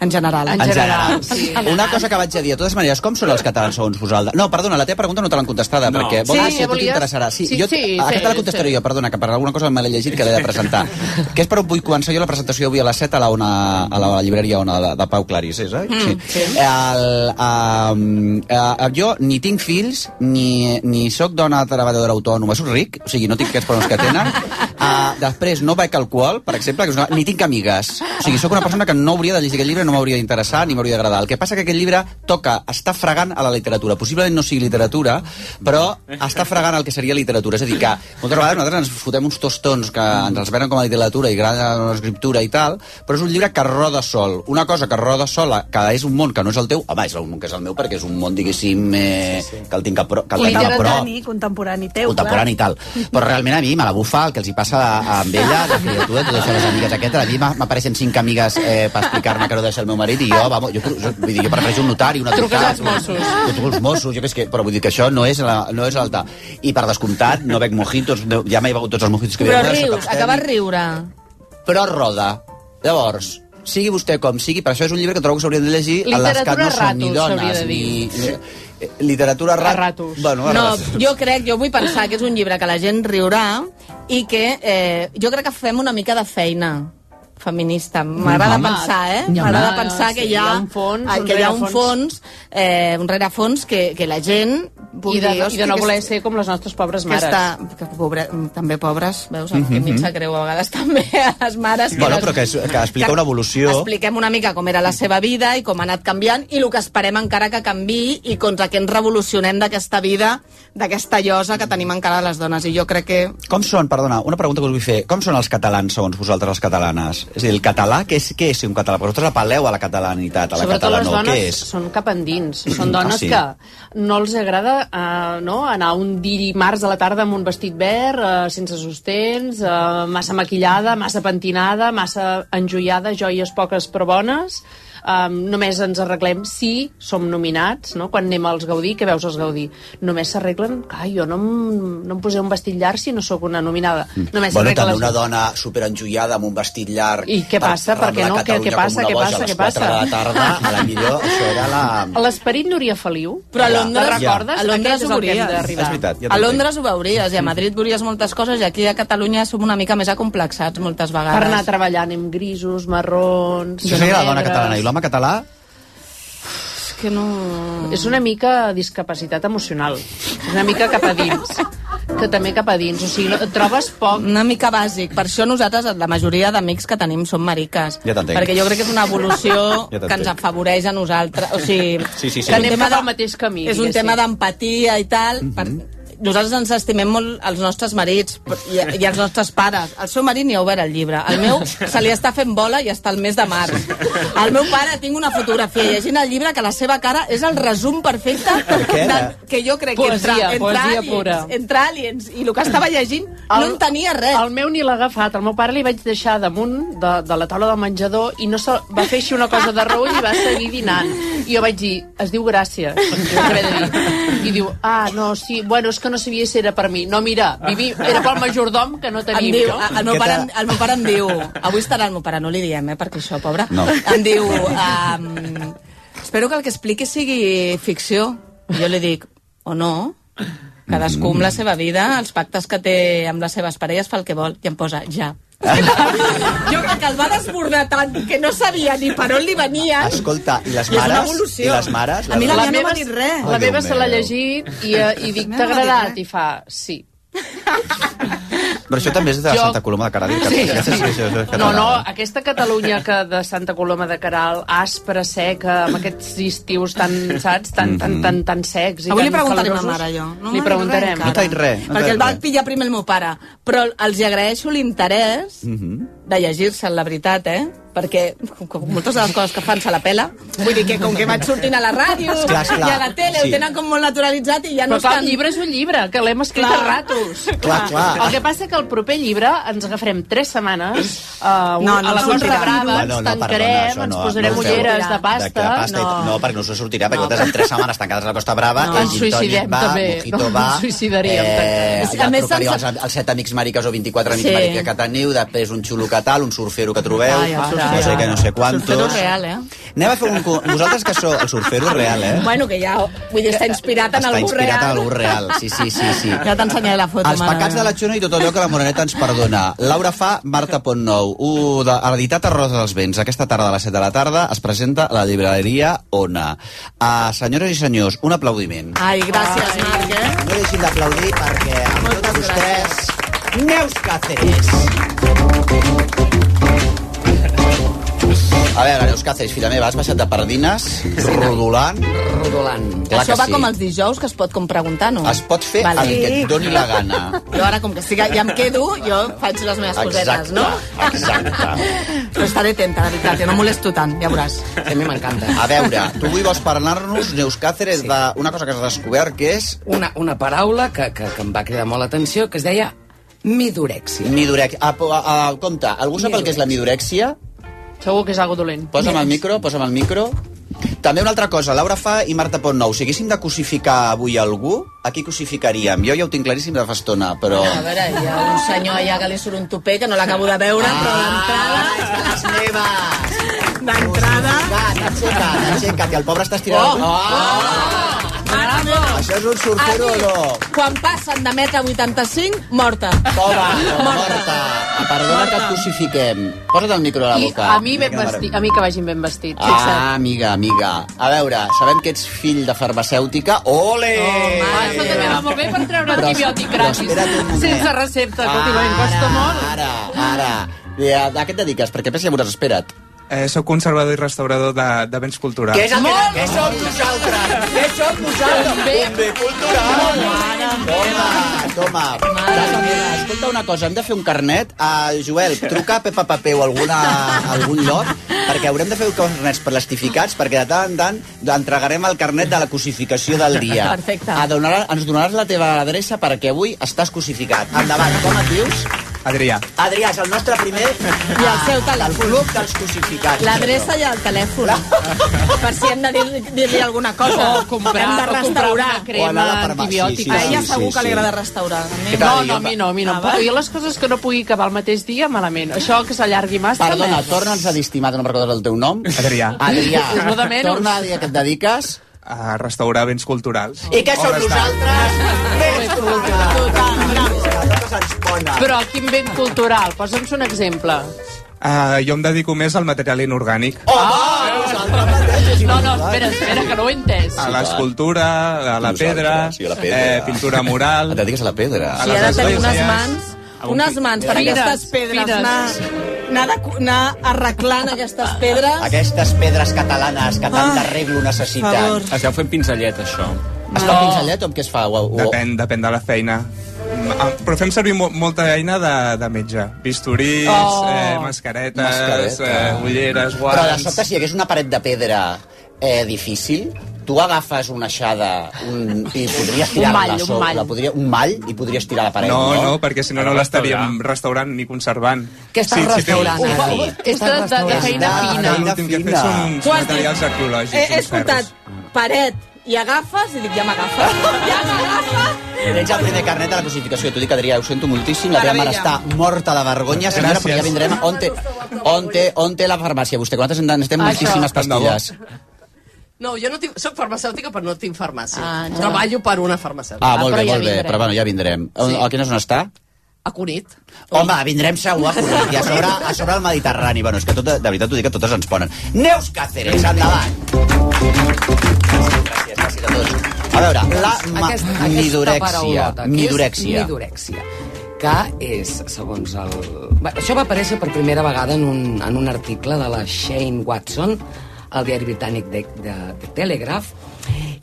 En general. En general. Sí. Una cosa que vaig a dir, de totes maneres, com són els catalans segons vosaltres? No, perdona, la teva pregunta no te l'han contestada, No. perquè Sí, vols què sí, a tu volies? t'interessarà. Sí, Sí, jo, sí, aquesta sí, la contestaré sí. jo, perdona, que per alguna cosa me l'he llegit que l'he de presentar. que és per on vull començar jo la presentació avui a les 7 a la, una, a la llibreria ona de, de Pau Clarís, és, eh? Mm, Sí. El, um, eh, jo ni tinc fills, ni, ni sóc dona treballadora autònoma, soc ric, o sigui, no tinc aquests problemes que tenen. Uh, després, no bec alcohol, per exemple, que és una... ni tinc amigues. O sigui, sóc una persona que no hauria de llegir aquest llibre, no m'hauria d'interessar, ni m'hauria d'agradar. El que passa que aquest llibre toca, està fregant a la literatura. Possiblement no sigui literatura, però està fregant el que seria literatura. És a dir, que moltes vegades nosaltres ens fotem uns tostons que ens els venen com a literatura i gran, la manuscriptura i tal, però és un llibre que roda sol. Una cosa que roda sola, que és un món que no és el teu, home, és un món que és el meu perquè és un món, diguéssim, eh, que el tinc a pro, que el tinc a prop Contemporani, contemporani teu, contemporani i tal. Però realment a mi me la bufa el que els hi passa a, amb ella, de criatura, totes les amigues aquestes. A mi m'a- m'apareixen cinc amigues eh, per explicar-me que no deixa el meu marit i jo, vamos, jo, jo, vull dir, jo prefereixo un notari, una Truques trucada... als Mossos. Jo truco als Mossos, jo que és que... Però vull dir que això no és, la, no és alta. I per descomptat, no bec mojitos, no, ja m'he begut tots els mojitos que Però havia begut, rius, soc acabes riure. però roda. Llavors, sigui vostè com sigui, per això és un llibre que trobo que s'hauria de llegir a les que Literatura no són ni ratos, dones, s'hauria de ni... ni- eh, Literatura rat... ratos. Bueno, a No, ratos. jo crec, jo vull pensar que és un llibre que la gent riurà i que eh, jo crec que fem una mica de feina feminista. M'agrada Home. pensar, eh? Hi ha una- M'agrada pensar sí, que hi ha, hi ha un fons, eh, un que hi ha un rerefons. fons, eh, un rerefons que, que la gent I de, dir, i de no "Hosti, voler que ser com les nostres pobres que mares. està, que pobre, també pobres, veus, mm -hmm. Mhm. mitja creu a vegades també a les mares. Bueno, però que, és, que explica una evolució... Expliquem una mica com era la seva vida i com ha anat canviant i el que esperem encara que canvi i contra què ens revolucionem d'aquesta vida, d'aquesta llosa que tenim encara les dones. I jo crec que Com són, perdona, una pregunta que us vull fer, com són els catalans segons vosaltres les catalanes? És a dir, el català, què és, què és ser un català? Perquè vosaltres apel·leu a la catalanitat, a la Sobretot les catalana, dones què és? són cap endins. Són dones Ah, sí? que no els agrada eh, no? anar un dimarts a la tarda amb un vestit verd, eh, sense sostens, eh, massa maquillada, massa pentinada, massa enjoiada, joies poques però bones. Um, només ens arreglem si som nominats, no? quan anem als Gaudí, que veus els Gaudí? Només s'arreglen... Ai, jo no em, no em posé un vestit llarg si no sóc una nominada. Només Mm. bueno, s'arregla també la una gent. dona superenjoiada amb un vestit llarg... I què passa? Per què ramblar no? Què- Catalunya què passa? com una Què boja passa? A les Què passa? 4 de la tarda, a la millor, això era la... L'esperit Núria Feliu. Però a Ja, Londres, ja. recordes? A Londres Aquest és ho el que hem veuries. d'arribar. És veritat, ja a t'entenc. Londres ho veuries i a Madrid veuries moltes coses i aquí a Catalunya som una mica més acomplexats moltes Per vegades. anar treballant amb grisos, marrons... Això seria la dona catalana. I l'home català? És que no... És una mica discapacitat emocional. És una mica cap a dins. que també cap a dins. O sigui, no- et trobes poc... Una mica bàsic. Per això nosaltres, la majoria d'amics que tenim són mariques. Ja t'entenc. Perquè jo crec que és una evolució Ja t'entenc. que ens afavoreix a nosaltres. O sigui, Sí, sí, sí. que Anem cap al mateix camí. És un diguéssim. tema d'empatia i tal. Mhm. Mm -hmm. per... Nosaltres ens estimem molt els nostres marits però- i, i els nostres pares. El seu marit ni ha obert el llibre. El meu se li està fent bola i està al mes de març. El meu pare tinc una fotografia llegint el llibre que la seva cara és el resum perfecte era? de, que jo crec que Poesia, entre, entre, poesia aliens, pura. entre aliens i el que estava llegint no en tenia res. El meu ni l'ha agafat. El meu pare li vaig deixar damunt de, de la taula del menjador i no se, va fer així una cosa de reull i va seguir dinant. I jo vaig dir, es diu gràcies. Jo crec de dir. I diu, ah, no, sí, bueno, és que no sabia si era per mi. No, mira, vivi, era pel majordom que no Em tenim. diu, el, meu Què pare, tal? el meu pare em diu... Avui estarà el meu pare, no li diem, eh, perquè això, pobre. No. Em diu... Um, espero que el que expliqui sigui ficció. Jo li dic, o no, cadascú Mm. amb la seva vida, els pactes que té amb les seves parelles fa el que vol, i em posa ja. jo crec que el va desbordar tant que no sabia ni per on li Ah. venia. Escolta, i les I és una mares? evolució. I les mares? A mi la dona? meva no m'ha dit res. La Ai, Déu meva se l'ha meu. llegit i, eh, i dic, t'ha agradat? I fa, sí. Però això també és de Jo- Santa Coloma de Caradell. que Sí, aquesta sí. que és No, catalana. no, aquesta Catalunya que de Santa Coloma de Caral, aspra, seca, amb aquests estius tan, saps, tan, Mhm. tan, tan, tan secs i Avui tan li preguntarem a calorosos. mare, jo. No li m'ha dit res, preguntarem. encara. perquè el va pillar primer el meu pare. Però els hi agraeixo l'interès Mhm. de llegir-se'l, la veritat, eh? Perquè com moltes de les coses que fan se la pela. Vull dir que com que vaig sortint a la ràdio Esclar, esclar. i a la tele, Sí. ho tenen com molt naturalitzat i ja Però no clar, estan... el llibre és un llibre, que l'hem escrit Clar. a ratos. Clar, clar. El que passa que el proper llibre ens agafarem tres setmanes uh, no, no a la ens Costa sortirà. Brava, No, ens no, no, tancarem, perdona, això ens no, posarem no us ulleres sortirà. de pasta. De pasta i no. tal. no, perquè no se sortirà, perquè vosaltres en tres setmanes tancades a la Costa Brava, No. el Ens gin tònic suïcidem, va, també. mojito No, va... ens suïcidaríem, Eh, tancades. ja A més, trucaríeu sense- als, als set amics mariques o 24 amics sí. Sí. mariques que teniu, després un xulo que tal, un surfero que trobeu, Ai, el no sé surfero. què, no sé Surfero quantos... real, eh? Anem a fer un... co- Vosaltres que sou... El surfero real, eh? Bueno, que ja... Vull dir, està inspirat en Està algú real. inspirat en algú real, sí, sí, sí, sí. Ja t'ensenyaré la foto, Els mare pecats meva. de la Xuna i tot allò que la Moreneta ens perdona. Laura fa Marta Pont Nou. U de, editat a Rosa dels Vents. Aquesta tarda a les 7 de la tarda es presenta a la llibreria Ona. Uh, senyores i senyors, un aplaudiment. Ai, gràcies, Marc, eh? No deixin d'aplaudir perquè amb tots vostès... Neus Cáceres. A veure, Neus Cáceres, filla meva, has baixat de Pardines, rodolant... Rodolant. Clar Això que va sí. com els dijous, que es pot com preguntar, no? Es pot fer el que et doni la gana. Jo ara, com que estic, ja em quedo, jo faig les meves cosetes, no? Exacte. Però estaré atenta, de veritat, jo no molesto tant, ja veuràs. A mi m'encanta. A veure, tu avui vols parlar-nos, Neus Cáceres, sí. d'una cosa que has descobert, que és... Una, una paraula que, que, que em va cridar molt l'atenció, que es deia midorexia. Midorexia. A, a, a, compte, algú sap el que és la midorexia? Segur que és algo dolent. Posa'm el micro, posa'm el micro. També una altra cosa, Laura Fa i Marta Pontnou, si haguéssim de cosificar avui algú, a qui cosificaríem? Jo ja ho tinc claríssim de fa estona, però... Ah, A veure, hi ha un senyor allà que li surt un tupé que no l'acabo de veure, Ah. però d'entrada... Les meves! D'entrada... Doncs Aixeca't, aixeca't, i el pobre està estirant... Oh! oh! Això és un surfero o no? Quan passen de metre 85, morta. Toma, morta. Perdona que et cosifiquem. Posa't el micro a la I boca. a mi, ben Mira, vestit, a mi que vagin ben vestit. Ah, amiga, amiga. A veure, sabem que ets fill de farmacèutica't. Ole! Això també va molt bé per treure Però- antibiòtic però gratis. espera't un moment. Sense recepta, escolti, Ara, em costa molt. Ara, ara. I a, a què et dediques? Perquè pensi, ja m'hauràs esperat. Eh, soc conservador i restaurador de, de béns culturals. Què és el que- Molt què som nosaltres? Què som nosaltres? També. Un bé cultural. Toma, toma. Casa meva, Escolta una cosa, hem de fer un carnet. Uh, Joel, truca a Pepa Papeu a alguna, a algun lloc, perquè haurem de fer carnets per plastificats, perquè de tant en tant entregarem el carnet de la cosificació del dia. Perfecte. A donar, ens donaràs la teva adreça perquè avui estàs cosificat. Endavant, com et dius? Adrià. Adrià, és el nostre primer... I el seu telèfon. El club dels cosificats. L'adreça i el telèfon. Per si hem de dir- dir-li alguna cosa. O comprar- hem o de comprar restaurar. una crema O anar a la farmàcia, antibiòtica. A ella sí, sí, segur que sí. li agrada restaurar. A mi No, no, a mi no, a mi no. Ah, em va. puc- Jo les coses que no pugui acabar el mateix dia, malament. Això que s'allargui massa... Perdona, merda. torna'ns a dir, estimat, no me'n recordes el teu nom. Adrià. Adrià, És lo de menys. torna a dir a què et dediques. A restaurar béns culturals. I què som nosaltres? Més Però quin vent cultural, posa'ns un exemple. Uh, jo em dedico més al material inorgànic. No, no, espera, espera, que no ho he entès. A l'escultura, a la pedra, sí, a la pedra. Eh, pintura mural... Et dediques a la pedra. A Sí, les ara tenim unes esglésies. mans, unes mans per Fires, aquestes pedres, fires. anar, anar, de- anar arreglant aquestes pedres. Aquestes pedres catalanes que tant d'arreglo necessiten. favor. Es deu fent pinzellet, això. Es fa pinzellet o amb què es fa? O, o... Depèn, depèn de la feina. Mm, ah, Però fem servir mo molta eina de, de metge. Bisturís, Oh. oh. eh, mascaretes, Mascareta. mascareta. eh, ulleres, Però de guants... sobte, si hi hagués una paret de pedra eh, difícil, tu agafes una aixada un, i podries Un tirar-la mall, un a sobre, mall. la podria, un mall i podries tirar la paret. No, No, no, perquè si no, no l'estaríem restaurant ni conservant. Què estàs restaurant, tens- ara? És de, de, de feina fina. L'últim que he fet són uns Quan- materials arqueològics. Eh, He, he uns ferros. escoltat paret i agafes i dic, ja m'agafa. Ja m'agafa. Tens el primer carnet de la cosificació. T'ho dic, Adrià, ho sento moltíssim. La teva mare Meravella. està morta de vergonya. Senyora, però Gràcies. ja vindrem. On té, on té, on té la farmàcia, vostè? Que Nosaltres en necessitem Això. moltíssimes pastilles. No, jo no tinc, soc farmacèutica però no tinc farmàcia. Ah, no. Treballo per una farmacèutica. Ah, molt bé, molt bé. Però bueno, ja vindrem. On- A quina zona està? A Cunit. Home, vindrem segur a Cunit i a sobre, a sobre el Mediterrani. Bueno, és que tot, de veritat t'ho dic que totes ens ponen. Neus Cáceres, endavant! Gràcies, gràcies a tots. A veure, la ma- Aquesta- aquesta midorexia. paraulota, que és Midorexia. Midorexia que és, segons el... Bé, això va aparèixer per primera vegada en un, en un article de la Shane Watson al diari britànic de, de, de Telegraph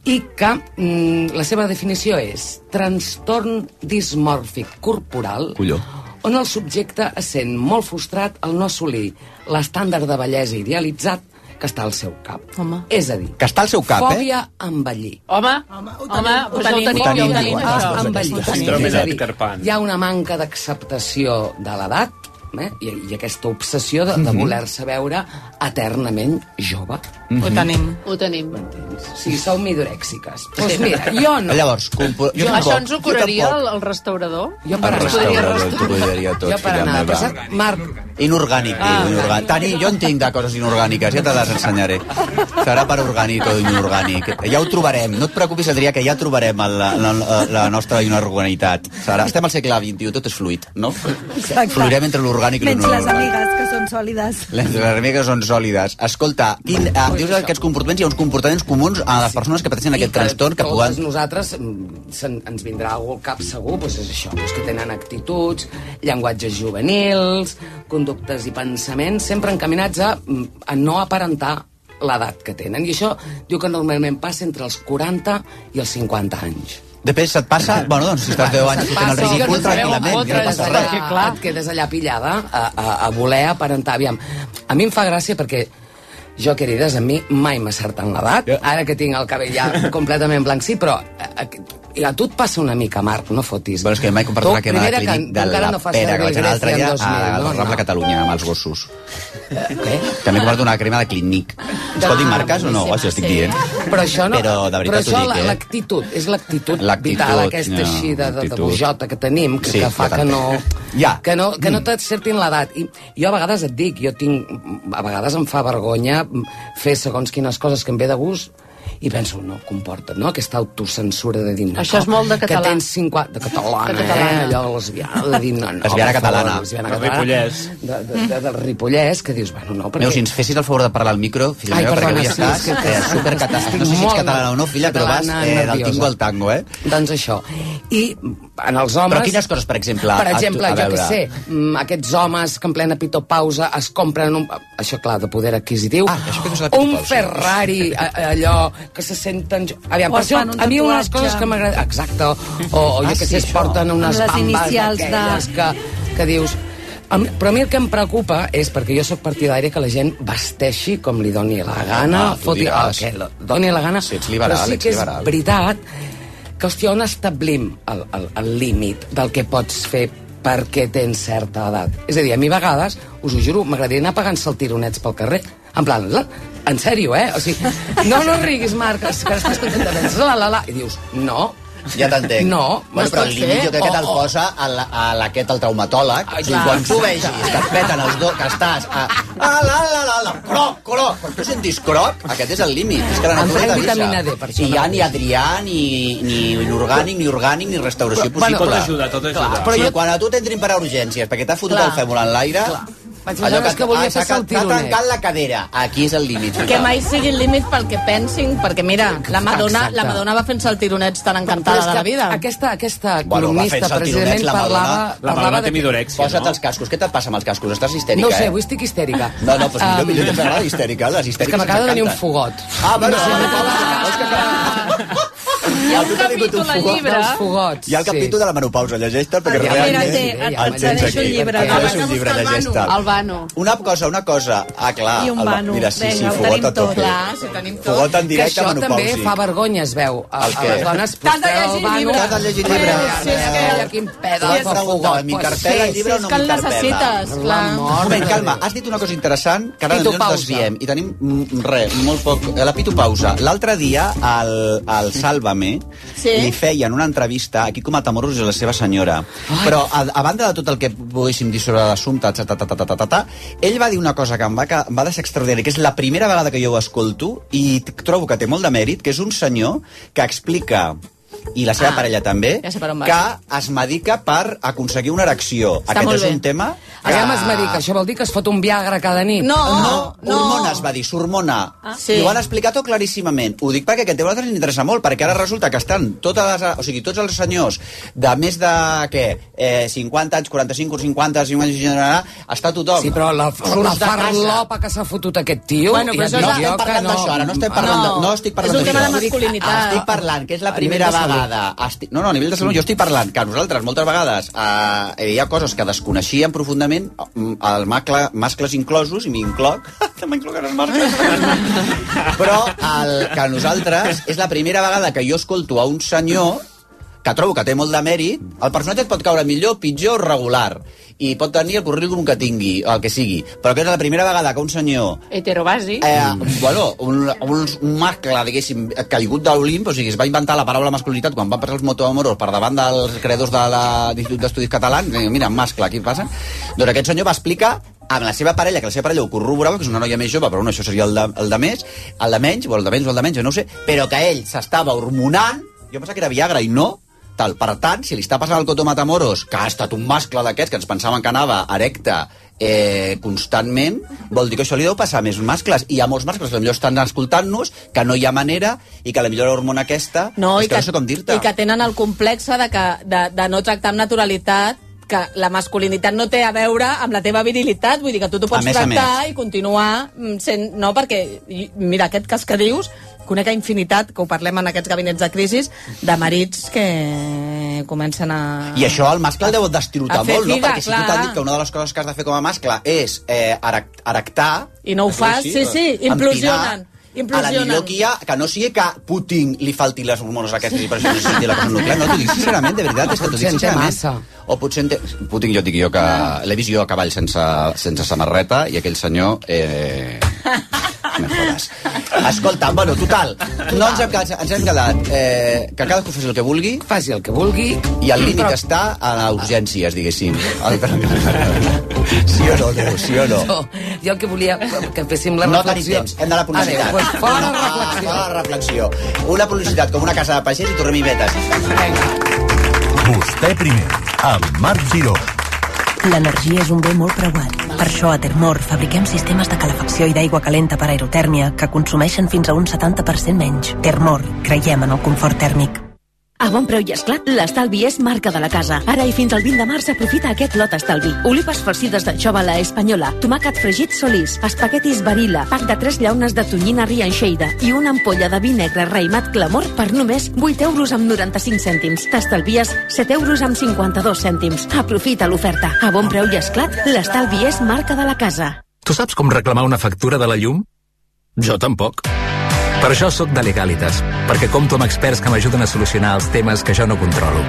i que mm, la seva definició és trastorn dismòrfic corporal Colló. on el subjecte es sent molt frustrat al no assolir l'estàndard de bellesa idealitzat que està al seu cap. Home. És a dir, Que està al seu cap, eh? fòbia a envellir. Home, home, home, Ho doncs tenim, ho ho tenim, tenim, jo, ho ho tenim. tenim. Envellir. Síndrome És a dir, d'Edgar Hi ha una manca d'acceptació de l'edat eh? I, i aquesta obsessió de, de Mhm. voler-se veure eternament jove. Mhm. Ho tenim. Ho tenim. Si sou midorèxiques. Doncs Sí. mira, jo no. Llavors, compo... Jo Això tampoc, ens ho jo curaria tampoc. el, el restaurador? Jo El per anar. restaurador t'ho cuidaria tot, Jo per filla anar. meva. Però saps, Marc, Inorgànic, ah, inorgànic. Tani, jo en tinc de coses inorgàniques, ja te les ensenyaré. Serà per orgànic o inorgànic. Ja ho trobarem. No et preocupis, Adrià, que ja trobarem el- la, la, la nostra inorganitat. Serà, estem al segle XXI, tot és fluid, no? Exacte. Fluirem entre l'orgànic i Menys les l'inorgànic. amigues, que hormigas són sòlides. Les hormigues són sòlides. Escolta, quin, eh, dius que aquests comportaments, hi ha uns comportaments comuns a les persones que pateixen aquest trastorn que Tots poden... nosaltres mm, se'n- ens vindrà algú al cap segur, doncs és això, doncs que tenen actituds, llenguatges juvenils, conductes i pensaments, sempre encaminats a, mm, a no aparentar l'edat que tenen. I això diu que normalment passa entre els 40 i els 50 anys. Després se't passa... Bueno, doncs, si estàs 10 anys fent el ridícul, tranquil·lament. Ja no passa res. Allà, et quedes allà pillada a, a, a voler aparentar. Aviam, a mi em fa gràcia perquè jo, querides, a mi mai m'ha certat l'edat. Ara que tinc el cabell ja completament blanc, sí, però a, a, i a tu et passa una mica, Marc, no fotis. Bueno, és que mai he comprat Tu, una crema de primera que clínic de encara la no fas pera la que vaig anar l'altre Grecia dia en a 2000, la no? Eh, Rambla No. Catalunya amb els gossos. Què? Ah. També he comprat una crema de clínic. Es pot dir marques o no? Això estic dient. Però això no... Però de però veritat això, ho la- dic, eh? l'actitud, és l'actitud L'actitud, vital, aquesta no, així de, de, de actitud. bojota que tenim, que, Sí, sí, que fa jo que no... també. Mm. Ja. Que no, que no t'acceptin l'edat. I jo a vegades et dic, jo tinc... A vegades em fa vergonya fer segons quines coses que em ve de gust i penso, no, comporta't, no? Aquesta autocensura de dir... No, Això és molt de que català. tens 50... De catalana, De catalana. eh? Allò lesbiana, de dir... No, no, Lesbiana per favor, catalana. Lesbiana Del catalana. Ripollès. De, de, de, del Ripollès, que dius, bueno, no, perquè... Meus, si ens fessis el favor de parlar al micro, filla Ai, meva, perquè perdona, avui sí, estàs és que- eh, supercatàstrofe. No sé si ets Molt catalana o no, filla, però vas catalana, eh, del nerviosa. tingo al tango, eh? Doncs això. I en els homes... Però quines coses, per exemple? per exemple, a tu- a jo què veure? sé, mm, aquests homes que en plena pitopausa es compren un... Això, clar, de poder adquisitiu. Ah, un pitopausa. Ferrari, a- allò, que se senten... Aviam, O per es això, fan un a mi una de les tatuatge. coses que m'agrada... Exacte. O, o jo Ah, què sí, sé, es això. porten unes Amb les bambes inicials de- d'aquelles que, que dius... A mi- Però a mi el que em preocupa és, perquè jo sóc partidària que la gent vesteixi com li doni la gana, Ah, tu foti el diràs. que li doni la gana, si ets liberal, però sí ets que és liberal. veritat que, hòstia, on establim el- el el límit del que pots fer perquè tens certa edat. És a dir, a mi a vegades, us ho juro, m'agradaria anar pagant saltironets pel carrer. En plan, la, en sèrio, eh? O sigui, no, no riguis, Marc, és que estàs contenta. La, la, la. I dius, no. Ja t'entenc. No, bueno, però el m'estàs límit fent- jo crec que te'l o- o- posa a la- a l'aquest, el traumatòleg. O sigui, clar. quan tu vegis que et peten els dos, que estàs a... La, la, la, la, la, croc, croc. Quan tu sentis croc, aquest és el límit. És que la Em natura prenc t'avisa. vitamina D, per això I no ja vaig. ni Adrià, ni, ni inorgànic, ni orgànic, ni restauració Però, bueno, possible. Tot ajuda, tot Clar, ajuda. però Sí. jo... quan a tu t'entrin per a urgències, perquè t'ha fotut Clar. el fèmur en l'aire... Vaig pensar que volia fer T'ha saltironet. trencat la cadera. Aquí és el límit. Que mai sigui el límit pel que pensin, perquè mira, la Madonna, Exacte. la Madonna va fent saltironets tan Però encantada és de que la vida. Aquesta, aquesta Bueno, va columnista, fent saltironets, precisament, la Madonna... parlava... parlava de- midorèxia, Posa't els cascos. Què te't passa amb els cascos? Estàs histèrica, No ho sé, eh? avui estic histèrica. Ah, No, no, però millor, Em, millor que ens agrada histèrica. Les És que histèriques m'acaba de venir un encanten. fogot. Ah, bueno, sí, Hi ha un capítol al llibre... fogots, Hi ha el capítol de la menopausa, llegeix-te'l, perquè Ah, realment... mira, té, et- et cedeixo un llibre. Et cedeixo un llibre, llegeix-te'l. El vano. Una cosa, una cosa. Ah, clar. I un el va- vano. Mira, sí, sí, Vinga, ho fogot tenim a tope. tot. Clar, sí, tenim tot. Fogot en que directe, això també menopausi. fa vergonya, es veu. A, El a què? les dones T'has de llegir posteu llibre. T'has de llegir llibre. Si és que... Quin pedaç de fogot. M'interpel·la el llibre o no m'interpel·la? Un moment, calma, has dit una cosa interessant que ara potser ens Pitopausa. desviem i tenim mm, res, molt poc. La pitopausa. L'altre dia al, al Sálvame Sí. li feien una entrevista aquí com a Tamorros i la seva senyora. Però a, a banda de tot el que poguéssim dir sobre l'assumpte, ta, ta, ta, ta, ta, ta, ta, ell va dir una cosa que em va, que em va deixar extraordinària, que és la primera vegada que jo ho escolto i t- trobo que té molt de mèrit, que és un senyor que explica i la seva Ah, parella també, ja sé per on vas. que es medica per aconseguir una erecció. Està Aquest molt és bé. un tema... Aviam, es medica. Això vol dir que es fot un Viagra cada nit. No, no, hormona, es va dir, s'hormona. Ah. sí. I ho han explicat tot claríssimament. Ho dic perquè aquest tema a nosaltres ens interessa molt, perquè ara resulta que estan totes les, o sigui, tots els senyors de més de, què, eh, 50 anys, 45, 50, 50, 50, està tothom. Sí, però la, la Surts de casa. farlopa que s'ha fotut aquest tio... Bueno, però ja això et no estem dic jo que parlant d'això, ara no estem parlant de- no estic parlant d'això. Estic parlant que és la A primera nivell de salut. vegada. Estic, no, no, a nivell de salut jo estic parlant que nosaltres moltes vegades eh, hi ha coses que desconeixíem profundament, mm, el macle, mascles inclosos, i m'incloc, te m'incloc en els mascles. Però el, que nosaltres és la primera vegada que jo escolto a un senyor que trobo que té molt de mèrit, el personatge et pot caure millor, pitjor, regular, i pot tenir el currículum que tingui, o el que sigui, però que és la primera vegada que un senyor Heterobasi. Eh, bueno, un, un, un mascle, diguéssim, caigut de l'Olimp, o sigui, es va inventar la paraula masculinitat quan van passar els motoamoros per davant dels creadors de la- de l'Institut d'Estudis Catalans, i diuen, mira, mascle, aquí passa. Doncs aquest senyor va explicar amb la seva parella, que la seva parella ho corroborava, que és una noia més jove, però bueno, això seria el de, el de més, el de menys, o el de menys, o el de menys, jo no ho sé, però que ell s'estava hormonant, jo pensava que era Viagra i no, tal. Per tant, si li està passant el Coto Matamoros, que ha estat un mascle d'aquests que ens pensaven que anava erecte eh, constantment, vol dir que això li deu passar a més mascles. I hi ha molts mascles que potser estan escoltant-nos, que no hi ha manera, i que potser l'hormona aquesta... No, i és que, que- no sé com dir-te. I que tenen el complex eh, de, que, de, de no tractar amb naturalitat que la masculinitat no té a veure amb la teva virilitat, vull dir que tu t'ho A pots més a tractar més. i continuar mm, sent... No, perquè, i- mira, aquest cas que dius, conec a infinitat, que ho parlem en aquests gabinets de crisis, de marits que comencen a... I això el mascle el deu destirotar A fer molt, no? figa, Perquè si tu clar. t'han dit que una de les coses que has de fer com a mascle és eh, erec- erectar... I no ho es diu fas, així, sí, sí, empinar, implosionen. A la millor Implosionen. que hi ha, que no sigui que Putin li falti les hormones aquestes i per això necessiti la cosa nuclear. No, t'ho dic sincerament, de veritat, és que t'ho Potser dic en té sincerament. O potser en té... Putin, jo et dic jo que l'he vist jo a cavall sense, sense samarreta i aquell senyor... Eh... Me jodes. Escolta, bueno, total, no ens hem quedat, ens hem quedat eh, que cadascú faci el que vulgui. Faci el que vulgui. I el límit està a urgències, diguéssim. Sí o no, no, sí o no. Jo, jo el que volia que féssim la No tenim reflexió... temps, hem d'anar a publicitat. Adéu, doncs fora reflexió. Fora Ah, reflexió. Una publicitat com una casa de pagès i tornem i vetes. eh, Vostè primer, amb Marc Giró. L'energia és un bé molt preuat. Per això a Termor fabriquem sistemes de calefacció i d'aigua calenta per aerotèrmia que consumeixen fins a un 70% menys. Termor, creiem en el confort tèrmic. A bon preu i esclat, l'estalvi és marca de la casa. Ara i fins al 20 de març aprofita aquest lot estalvi. Olipes farcides d'anxova a la espanyola, tomàquet fregit solís, espaguetis barila, pack de 3 llaunes de tonyina rianxeida i una ampolla de vi negre raïmat clamor per només 8 euros amb 95 cèntims. T'estalvies 7 euros amb 52 cèntims. Aprofita l'oferta. A bon preu i esclat, l'estalvi és marca de la casa. Tu saps com reclamar una factura de la llum? Jo tampoc. Per això sóc de Legalitas, perquè compto amb experts que m'ajuden a solucionar els temes que jo no controlo.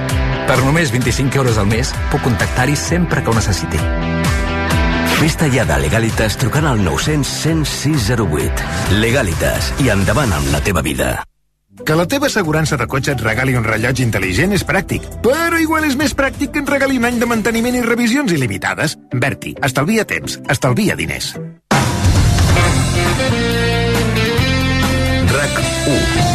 Per només 25 euros al mes puc contactar-hi sempre que ho necessiti. Festa ja de Legalitas trucant al 900 106 08. Legalitas i endavant amb la teva vida. Que la teva assegurança de cotxe et regali un rellotge intel·ligent és pràctic, però igual és més pràctic que et regali un any de manteniment i revisions il·limitades. Berti, estalvia temps, estalvia diners. RAC 1.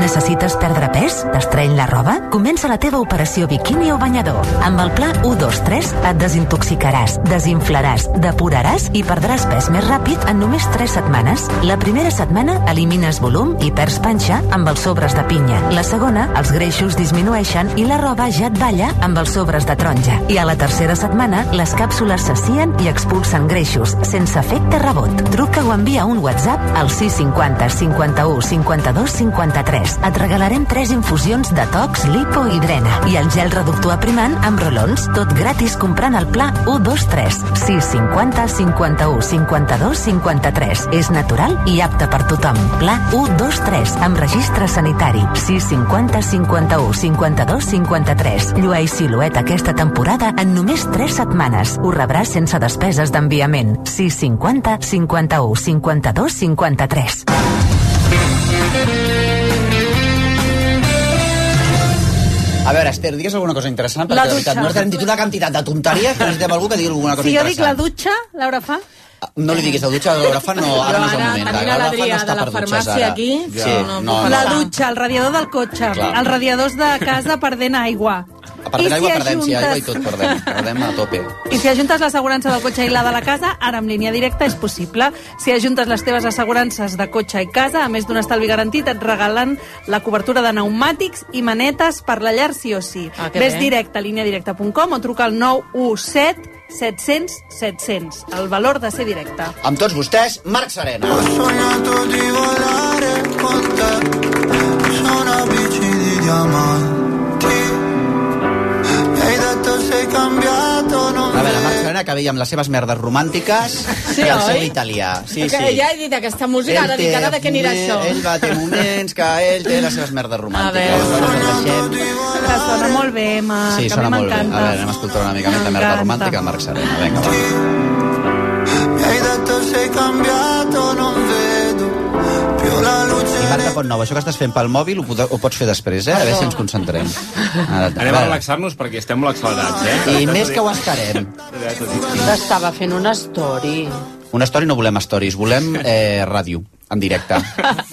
Necessites perdre pes? T'estreny la roba? Comença la teva operació biquini o banyador. Amb el pla 123 et desintoxicaràs, desinflaràs, depuraràs i perdràs pes més ràpid en només 3 setmanes. La primera setmana elimines volum i perds panxa amb els sobres de pinya. La segona, els greixos disminueixen i la roba ja et balla amb els sobres de taronja. I a la tercera setmana, les càpsules s'assien i expulsen greixos, sense efecte rebot. Truca o envia un WhatsApp al 650 51 52 53. Et regalarem 3 infusions de tox, lipo i drena. I el gel reductor aprimant amb rolons, tot gratis comprant el pla 123. 650 51 52 53. És natural i apte per tothom. Pla 123 amb registre sanitari. 650 51 52 53. Llueix silueta aquesta temporada en només 3 setmanes. Ho rebràs sense despeses d'enviament. 650 51 52 53. A veure, Esther, digues alguna cosa interessant, perquè La de veritat, dutxa. nosaltres hem dit una quantitat de tonteries que necessitem algú que digui alguna cosa Si jo dic interessant. la dutxa, l'Aura fa... No li diguis la dutxa, l'Orafa no, ara no és el Però moment. ara tenim L'Orafa no l'Adrià està de la per dutxes, farmàcia ara. aquí, Sí, no, no, la no. dutxa, el radiador del cotxe, Clar. els radiadors de casa perdent aigua. Perdem I aigua, si perdem, sí, aigua i ajuntes- tot perdem. Perdem a tope. I si ajuntes l'assegurança del cotxe i la de la casa, ara amb línia directa és possible. Si ajuntes les teves assegurances de cotxe i casa, a més d'un estalvi garantit, et regalen la cobertura de pneumàtics i manetes per la llar sí o sí. Ah, que Ves bé. directe a lineadirecta.com o truca al 917 700 700. El valor de ser directe. Amb tots vostès, Marc Serena. sono bici di diamanti e hai detto sei cambiato non A veure, Marc Serena, que veia amb les seves merdes romàntiques Sí, i el seu oi? italià. Sí, que sí. Ja he dit aquesta música, ara dic, ara de què anirà això? Ell va té moments que ell té les seves merdes romàntiques. Que sona molt bé, Sí, Marc. Ah, a mi sona molt bé. A m'encanta. veure, anem a escoltar una mica més de merda M'encanta. romàntica al Marc Serena. Vinga, va. mi hai detto sei cambiato non vedo più la luce I Marta Pontnou, això que estàs fent pel mòbil ho, pot, ho pots fer després, eh? A veure si ens concentrem. Ara, Anem a relaxar-nos perquè estem molt accelerats, eh? I més que ho estarem. Estava fent una story. Una story no volem stories, volem eh, ràdio, en directe.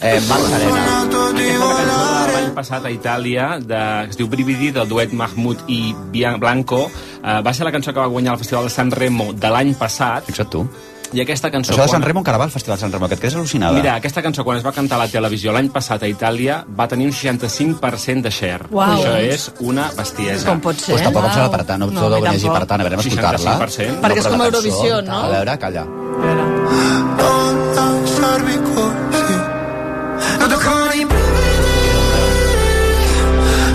Eh, Marc Serena. di volare passat a Itàlia, de, que es diu Brividi, del duet Mahmoud i Bian- Blanco. Eh, va ser la cançó que va guanyar el Festival de San Remo de l'any passat. Fixa't tu. I aquesta cançó... Això de quan- Sant Remo encara va al Festival de Sant Remo, que et quedes al·lucinada. Mira, aquesta cançó, quan es va cantar a la televisió l'any passat a Itàlia, va tenir un 65% de share. Uau. Això és una bestiesa. Com pot ser? Pues tampoc em sona per tant, no em No, sona a mi d'Agonés i tampoc. per tant, haurem d'escoltar-la. 65%. Perquè és però com la cançó, Eurovisió, no? A veure, calla. Lontano servi così Non toccano i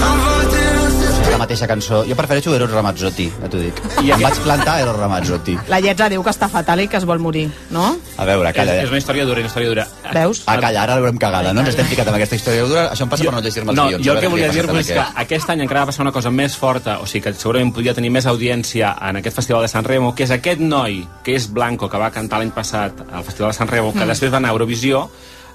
A volte non si És la mateixa cançó. Jo prefereixo Eros Ramazzotti, ja t'ho dic. I em vaig plantar a Eros Ramazzotti. La lletra diu que està fatal i que es vol morir, no? A veure, calla. És, és una història dura, una història dura. Veus? Ah, calla, ara l'haurem cagada, no? Ens estem ficat amb aquesta història dura. Això em passa per no llegir-me els No, guions. jo A veure el que què volia li passa dir-vos és a que aquest. aquest any encara va passar una cosa més forta, o sigui que segurament podia tenir més audiència en aquest Festival de San Remo, que és aquest noi, que és Blanco, que va cantar l'any passat al Festival de San Remo, que Mm. després va anar a Eurovisió,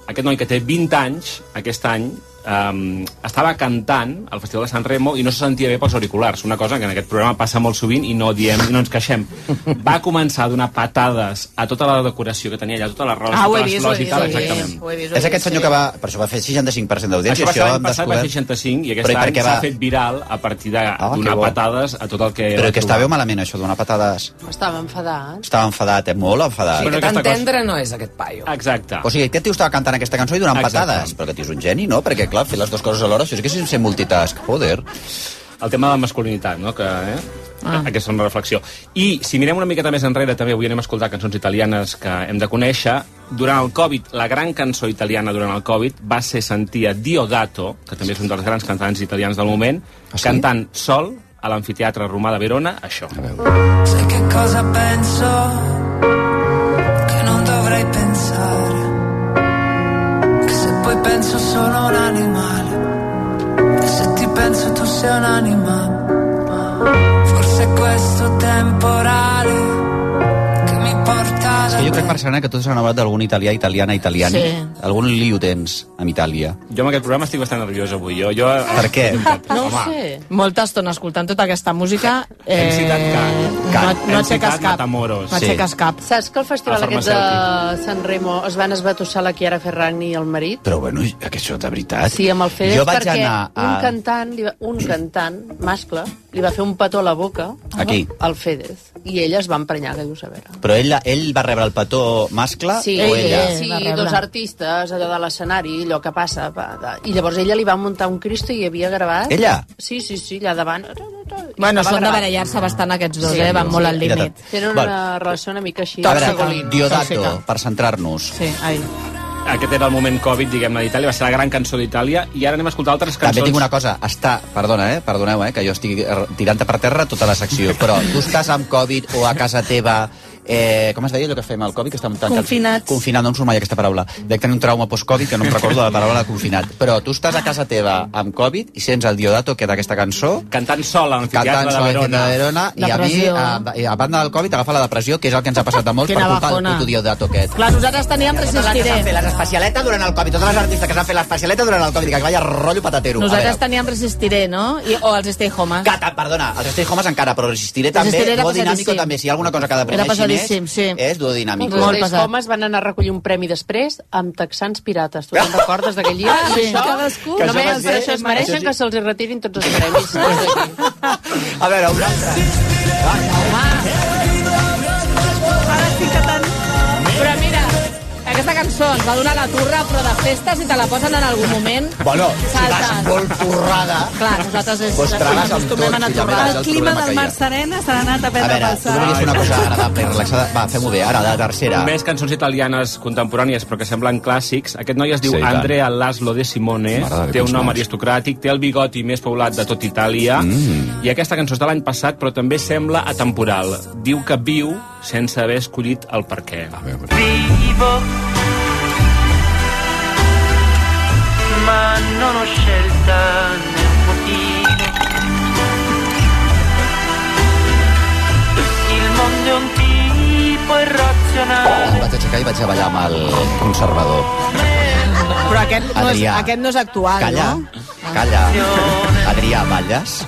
aquest noi que té 20 anys, aquest any, um, estava cantant al Festival de San Remo i no se sentia bé pels auriculars, una cosa que en aquest programa passa molt sovint i no diem i no ens queixem. Va començar a donar patades a tota la decoració que tenia allà, totes les rodes, Ah, ho he vist, totes les ho he flors i vist, tal, ho he vist, exactament. ho he vist, ho he És aquest vist, senyor sí. que va... Per això va fer 65% d'audiència. Això va ser Això, l'any hem passat, va descobert... ser 65, i Però aquest i per any què s'ha va? Ah, fet viral a partir de que donar bo. patades a tot el que... Però va que trobar. estàveu malament, això, donar patades. Estava enfadat. Estava enfadat, eh? Molt enfadat. Sí, que tan tendre no és aquest paio. Exacte. O sigui, aquest tio estava cantant aquesta cançó i donant Exacte. patades. Però aquest tio és un geni, no? Perquè, clar, fer les dues coses alhora, això és que és ser multitask. Joder. El tema de la masculinitat, no? Que, eh? Ah. Aquesta és una reflexió. I si mirem una miqueta més enrere, també avui anem a escoltar cançons italianes que hem de conèixer. Durant el Covid, la gran cançó italiana durant el Covid va ser sentir a Diodato, que també és un dels grans cantants italians del moment, ah, sí? cantant sol a l'amfiteatre romà de Verona, això. Sai che cosa penso? Che non dovrei pensare. Che se poi penso sono un animale. E se ti penso tu sei un'anima. Forse è questo temporale che mi porta És da que jo te. crec, Marcelana, que tu t'has enamorat d'algun italià, italiana, italiani. Sí. Algun liu tens amb Itàlia. Jo amb aquest programa Ah. estic bastant nerviós avui. Jo, jo... Per què? No ho sé. Molta estona escoltant tota aquesta música... Eh, no, no Hem aixeques citat cap. Matamoros. No aixeques cap. Saps que al festival El aquest de San Remo es van esbatossar la Chiara Ferragni i el marit? Però, bueno, que això de veritat... Sí, amb el Fedez, Jo vaig perquè anar a... un cantant, li va, un cantant mascle, li va fer un petó a la boca Aquí. al Fedez, i ella es va emprenyar, que dius, a veure. Però ell, ell va rebre el petó mascle Sí, o ella? sí dos artistes, allò de l'escenari, allò que passa. pa, de- I llavors ella li va muntar un cristo i havia gravat... Ella? Sí, sí, sí, allà davant. Bueno, Estava són de gravat. barallar-se bastant aquests dos, sí, eh? Van molt al Mira, límit. Tenen una relació una mica així. A veure, Diodato, per centrar-nos. Sí, ai. Aquest era el moment Covid, diguem-ne, d'Itàlia. Va ser la gran cançó d'Itàlia. I ara anem a escoltar altres cançons. També tinc una cosa, està, perdona, eh, perdoneu, eh, que jo estic eh, tirant per terra tota la secció, però tu estàs amb Covid o a casa teva, eh, com es deia allò que fem al Covid? Que estem tancats, Confinats. Confinat, no em surt mai aquesta paraula. Dec tenir un trauma post-Covid que no em recordo la paraula confinat. Però tu estàs a casa teva amb Covid i sents el Diodato que d'aquesta cançó... Cantant sola, en Cantant de sola, en Verona. de Verona, i a mi, Depressió. a, i a banda del Covid, agafa la depressió, que és el que ens ha passat a molts per Quina culpa del bajona. puto Diodato aquest. Clar, nosaltres teníem Resistiré. especialetes durant el Covid, totes les artistes que s'han fet l'especialeta durant el Covid, que vaya rotllo patatero. A Nosaltres veure. teníem Resistiré, no? I, o els Stay Homes. Cata, perdona, els Stay Homes encara, però resistiré també, Resistiré era duo dinàmico pesadíssim. també, si hi ha alguna cosa que Era deprimeixi pesadíssim, més, sí. és duo dinàmico. Molt pesat. Homes van anar a recollir un premi després amb texans pirates. Tu te'n recordes d'aquell dia? Ah, sí. Això, Cadascú. Només Que això va per ser- això es això mereixen sí. que se'ls hi retirin tots els premis. A veure, un altre. Però mira, aquesta cançó ens va donar la turra, però de festa, si te la posen en algun moment... Bueno, si Saltes. vas molt porrada... Clar, nosaltres és... Pues tragues amb tot, acostumem a anar filla torrades. meva, és el El clima problema del que hi ha. mar serena s'ha anat a A veure, tu volies fer una cosa agradable i relaxada? Va, fem-ho bé, ara, la tercera. Més cançons italianes contemporànies, però que semblen clàssics. Aquest noi es diu Sí, sí, i tant. Andrea Laszlo de Simone, Mare de té un quins nom noms. aristocràtic, té el bigoti més poblat de tot Itàlia, mm. i aquesta cançó és de l'any passat, però també sembla atemporal. Diu que viu sense haver escollit el per què. Vivo, ma non ho scelta né motivo. Il mondo è un tipo Em irrazionale. vaig aixecar i vaig a ballar amb el conservador. Però aquest no, és, Adrià. aquest no és actual, Calla, no? calla. Adrià, balles?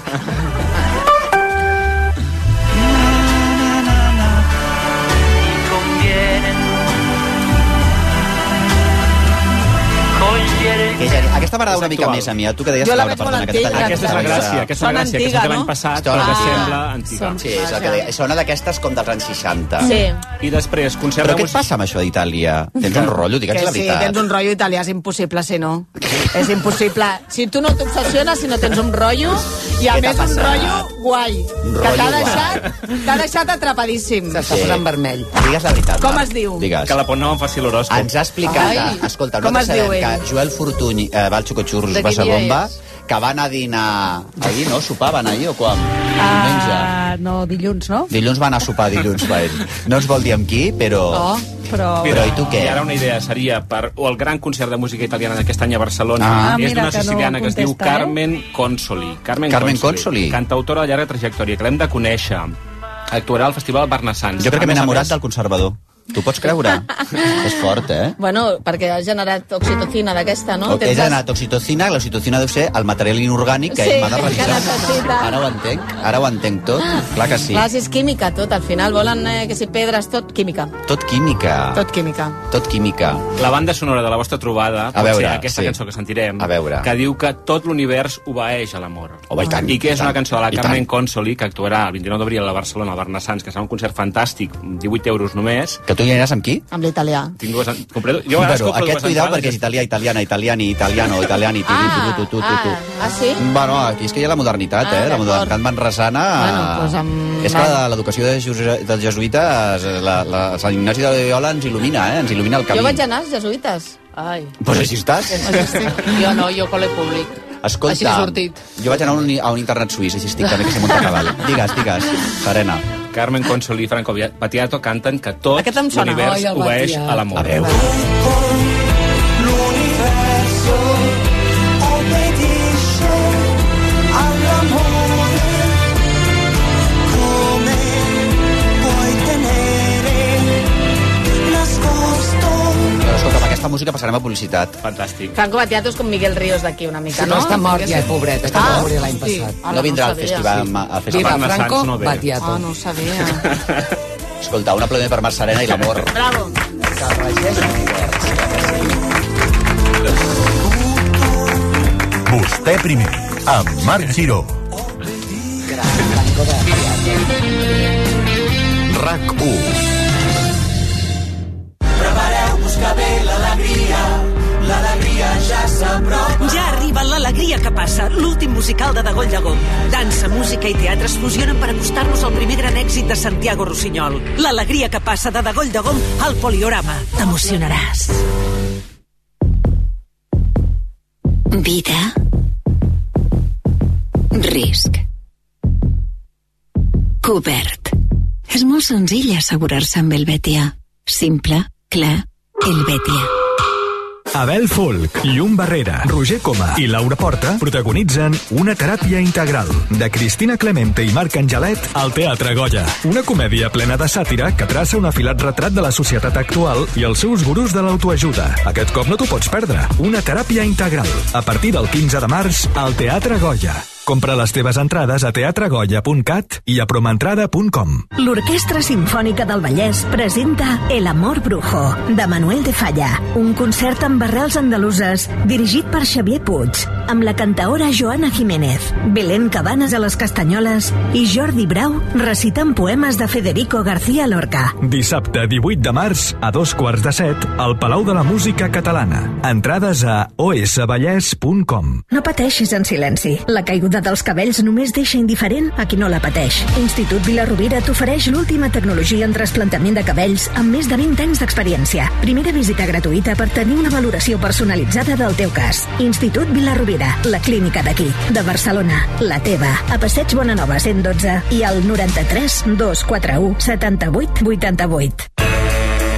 Cogliere il Aquella, aquesta m'agrada una mica més a mi, eh? tu que deies Jo la Laura, veig perdona, molt que t'he tallat. antiga. Aquesta és la gràcia, aquesta és la Sona gràcia, que antiga, s'ha fet l'any no? passat, Sona però que antiga. sembla antiga. Sona- Sí, és el que deia, sona d'aquestes com dels anys 60. Sí. I després, concert Però què et passa amb això d'Itàlia? Tens un Que rotllo, digue'ns la sí, tens veritat. un rotllo italià, és impossible, si no. És impossible. Si tu no t'obsessiones, si no tens un rotllo, i a Què t'ha més un passat? rotllo guai, que rotllo t'ha guai. deixat, t'ha deixat atrapadíssim. S'està Sí. posant vermell. Digues la veritat. Com va. es diu? Digues. Que la Pont no em faci l'horòscop. Ens ha explicat, Ai. Ai. escolta, Com nosaltres es diu sabem ell? que Joel Fortuny eh, va al Xucotxurros De quin Bassabomba, dia que va anar a dinar ahir, no? Sopar, va anar ahir o quan? Diumenge. Ah, no, dilluns, no? Dilluns va anar a sopar, dilluns va ell. No ens vol dir amb qui, però... Oh. No, però... Oh. Però i tu què? I ara una idea seria per o el gran concert de música italiana d'aquest any a Barcelona. Ah. Ah, és mira, d'una que no siciliana que, es diu contesta, eh? Carmen Consoli. Carmen, Carmen Consoli. Cantautora de llarga trajectòria, que l'hem de conèixer. Actuarà al Festival Barnassans. Jo crec que m'he enamorat del conservador. Tu pots creure? És fort, eh? Bueno, perquè has generat oxitocina d'aquesta, no? No, he generat oxitocina, i l'oxitocina deu ser el material inorgànic que Sí, ell m'ha de que realitzar. necessita. Ara ho entenc, ara ho entenc tot. Clar que sí. Clar, si és química tot, al final volen eh, que si pedres tot, química. Tot química. Tot química. Tot química. La banda sonora de la vostra trobada A pot veure, ser aquesta sí. cançó que sentirem, A veure. que diu que tot l'univers obeeix a l'amor. Home, i tant, I que i és una tant, cançó de la i Carmen Consoli, que actuarà el 29 d'abril a la Barcelona, al Barnassans, que serà un concert fantàstic, 18 euros només. Que tu hi aniràs amb qui? Amb l'italià. Tinc dues... en- Compro... Jo a vegades Però compro aquest dues cuidao entrades perquè és italià, italiana, italiani, italiano, italiani, tu, tu, tu, tu, tu, tu. Ah, sí? Bueno, aquí és que hi ha la modernitat, eh? La modernitat manresana... Bueno, doncs amb- És que la- l'educació de Jose- dels jesuïtes, eh, la, la, Sant Ignasi de Loyola ens il·lumina, eh? Ens il·lumina el camí. Jo vaig anar als jesuïtes. Ai. Pues així estàs. Jo no, jo col·le públic. Escolta, Així he sortit. jo vaig anar a un, a un internat suís, així estic també, que se munta a cavall. Digues, digues, Serena. Carmen Consoli i Franco Via- Battiato canten que tot Aquest em sona. l'univers Ai, el obeeix Battiato. a l'amor. A veure. L'universo obbedisce all'amore. Come puoi tenere nascosto Però escolta, amb aquesta música passarem a publicitat. Fantàstic. Franco Battiato és com Miguel Ríos d'aquí una mica, no? No, està mort ja, pobret, està Ah, ah, mort l'any sí. passat. Ara No vindrà no al sabia. festival, al festival. Viva Barna Franco, Sanz no ve. Battiato. Ah, no ho sabia. Escolta, un aplaudiment per Mar Serena i l'amor. Bravo. Vostè eh, primer, amb Marc Giró. RAC Oh. 1. Prepareu-vos que ve l'alegria, l'alegria ja s'apropa. Ja arriba l'alegria que passa, l'últim musical de Dagoll Llegó. Dansa, música i teatre es fusionen per acostar-nos al primer gran èxit de Santiago Rossinyol. L'alegria que passa de Dagoll Llegó al Poliorama. T'emocionaràs. Vida. Risc. Cobert. És molt senzill assegurar-se amb el Betia. Simple, clar, el Betia. Abel Folk, Llum Barrera, Roger Coma i Laura Porta protagonitzen Una teràpia integral de Cristina Clemente i Marc Angelet al Teatre Goya. Una comèdia plena de sàtira que traça un afilat retrat de la societat actual i els seus gurus de l'autoajuda. Aquest cop no t'ho pots perdre. Una teràpia integral. A partir del 15 de març al Teatre Goya. Compra les teves entrades a teatregoya.cat i a promentrada.com. L'Orquestra Simfònica del Vallès presenta El amor brujo, de Manuel de Falla, un concert amb barrels andaluses dirigit per Xavier Puig, amb la cantaora Joana Jiménez, Belén Cabanes a les Castanyoles i Jordi Brau recitant poemes de Federico García Lorca. Dissabte 18 de març, a dos quarts de set, al Palau de la Música Catalana. Entrades a osvallès.com. No pateixis en silenci. La caiguda dels cabells només deixa indiferent a qui no la pateix. Institut Vilarovira t'ofereix l'última tecnologia en trasplantament de cabells amb més de 20 anys d'experiència. Primera visita gratuïta per tenir una valoració personalitzada del teu cas. Institut Vilarovira, la clínica d'aquí, de Barcelona, la teva, a Passeig Bonanova 112 i al 93 241 78 88.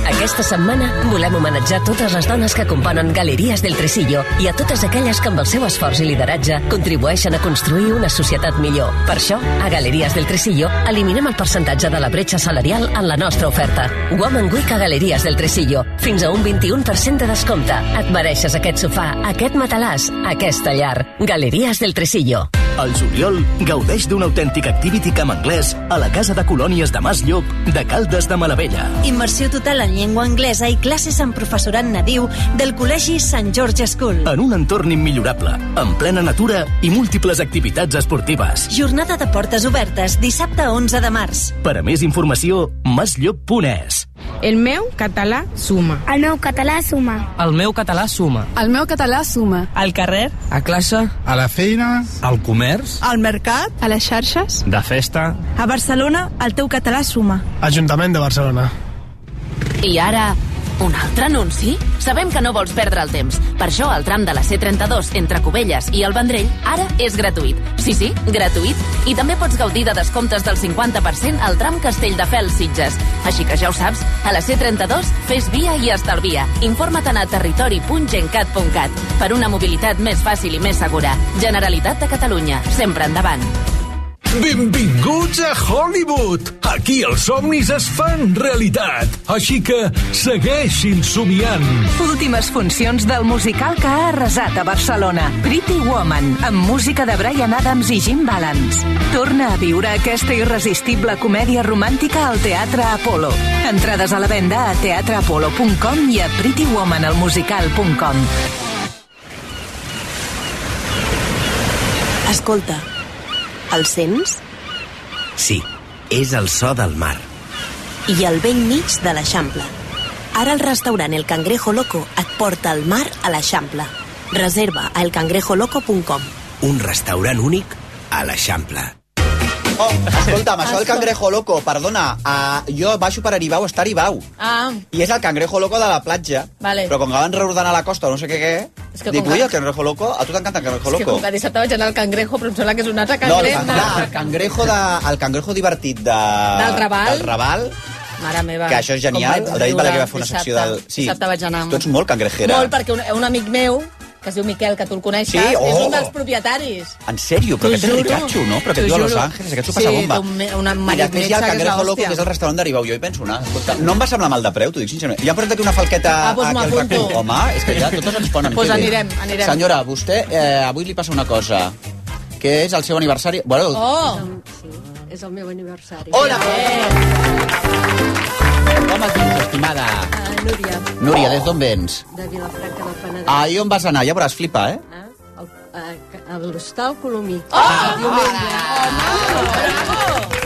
Aquesta setmana volem homenatjar totes les dones que componen Galeries del Tresillo i a totes aquelles que amb el seu esforç i lideratge contribueixen a construir una societat millor. Per això, a Galeries del Tresillo eliminem el percentatge de la bretxa salarial en la nostra oferta. Woman Week a Galeries del Tresillo. Fins a un 21% de descompte. Et mereixes aquest sofà, aquest matalàs, aquesta llar. Galeries del Tresillo. Al juliol, gaudeix d'un autèntic activity camp anglès a la Casa de Colònies de Mas Llop de Caldes de Malavella. Immersió total en llengua anglesa i classes amb professorat nadiu del Col·legi Sant George School. En un entorn immillorable, en plena natura i múltiples activitats esportives. Jornada de portes obertes, dissabte 11 de març. Per a més informació, maslloc.es. El meu català suma. El meu català suma. El meu català suma. El meu català suma. Al carrer. A classe. A la feina. Al comerç. Al mercat. A les xarxes. De festa. A Barcelona, el teu català suma. Ajuntament de Barcelona. I ara, un altre anunci? Sabem que no vols perdre el temps. Per això el tram de la C32 entre Cubelles i el Vendrell ara és gratuït. Sí, sí, gratuït. I també pots gaudir de descomptes del 50% al tram Castelldefels Sitges. Així que ja ho saps, a la C32 fes via i estalvia. Informa't a territori.gencat.cat per una mobilitat més fàcil i més segura. Generalitat de Catalunya. Sempre endavant. Benvinguts a Hollywood! Aquí els somnis es fan realitat, així que segueixin somiant. Últimes funcions del musical que ha arrasat a Barcelona, Pretty Woman, amb música de Brian Adams i Jim Balance. Torna a viure aquesta irresistible comèdia romàntica al Teatre Apolo. Entrades a la venda a teatreapolo.com i a prettywomanalmusical.com. Escolta, el sents? Sí, és el so del mar. I al vell mig de l'Eixample. Ara el restaurant El Cangrejo Loco et porta al mar a l'Eixample. Reserva a elcangrejoloco.com Un restaurant únic a l'Eixample. Oh, escolta'm, això del cangrejo loco, perdona, uh, jo baixo per Aribau, està a Aribau. Ah, I és el cangrejo loco de la platja. Vale. Però com que van reordenar la costa o no sé què, què És que dic, com ui, que- el cangrejo loco, a tu t'encanta el cangrejo és que loco. com que dissabte vaig anar al cangrejo, però em sembla que és un altre No, el, cangrejo. can- clar, el cangrejo, de, Ah, el cangrejo divertit de, Del Raval. del Raval Mare meva. que això és genial. El David Balaguer va fer una secció del... Sí. Dissabte vaig anar. tu ets molt cangrejera. Molt, perquè un, un amic meu, que es diu Miquel, que tu el coneixes, Sí? és Oh! un dels propietaris. En sèrio, però T'ho aquest és juro. Ricacho, no? Però aquest T'ho viu a Los juro. Angeles, aquest s'ho passa Sí, bomba. d'un me- un I després hi ha marit el metge que és Cangrejo la Loco, que és hòstia. el restaurant d'Aribau, jo hi penso anar. Escolta, no em va semblar mal de preu, t'ho dic sincerament. Ja portat aquí una falqueta Ah, doncs a m'ho aquell apunto. racó. Home, és que ja totes ens ponen. Doncs que bé. anirem, anirem. Senyora, vostè, eh, avui li passa una cosa, que és el seu aniversari... Bueno, Oh! És el meu aniversari. Eh. Hola! com es dius, estimada? Uh, Núria, Núria, des d'on vens? Ah, de Vilafranca del Penedès. Ahir on vas anar? Ja veuràs, flipa, eh? A l'Hostal Colomí. Oh! Diumenge.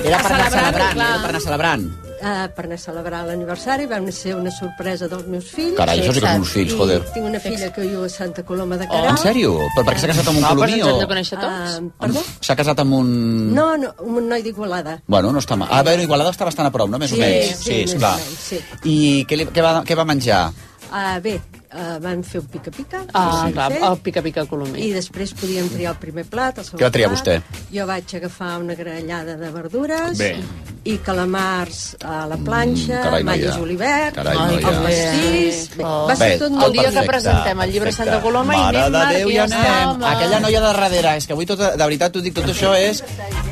Era per anar Celebrant, celebrant, clar. era per anar celebrant. Uh, per anar a celebrar l'aniversari vam ser una sorpresa dels meus fills. Carai, això sí que són uns fills, I joder. Tinc una filla que viu a Santa Coloma de En Queralt. sèrio? Però per què s'ha casat amb un colomí o... conèixer tots? Uh, perdó? S'ha casat amb un... No, no, un noi d'Igualada. Bueno, no està mal. Ah, bueno, Igualada està bastant a prop, no? Més Sí, o menys. sí, Sí, més o esclar. menys, sí. I què, li, què, va, què va menjar? Uh, bé, uh, van fer un pica-pica. Ah, no sé, clar, no sé. el pica-pica colomí. I després podíem triar el primer plat, el segon Què va triar plat. vostè? Jo vaig agafar una grallada de verdures Bé. i calamars a la planxa, Mm, carai, noia. malles olivets, Carai, noia. el pastís... Oh. Va ser tot el tot dia que perfecte, presentem el llibre perfecte. Santa Coloma i Mare anem de Marc, Déu, i ja ja anem. està, home. Aquella noia de darrere, és que avui tot, de veritat t'ho dic, tot això és...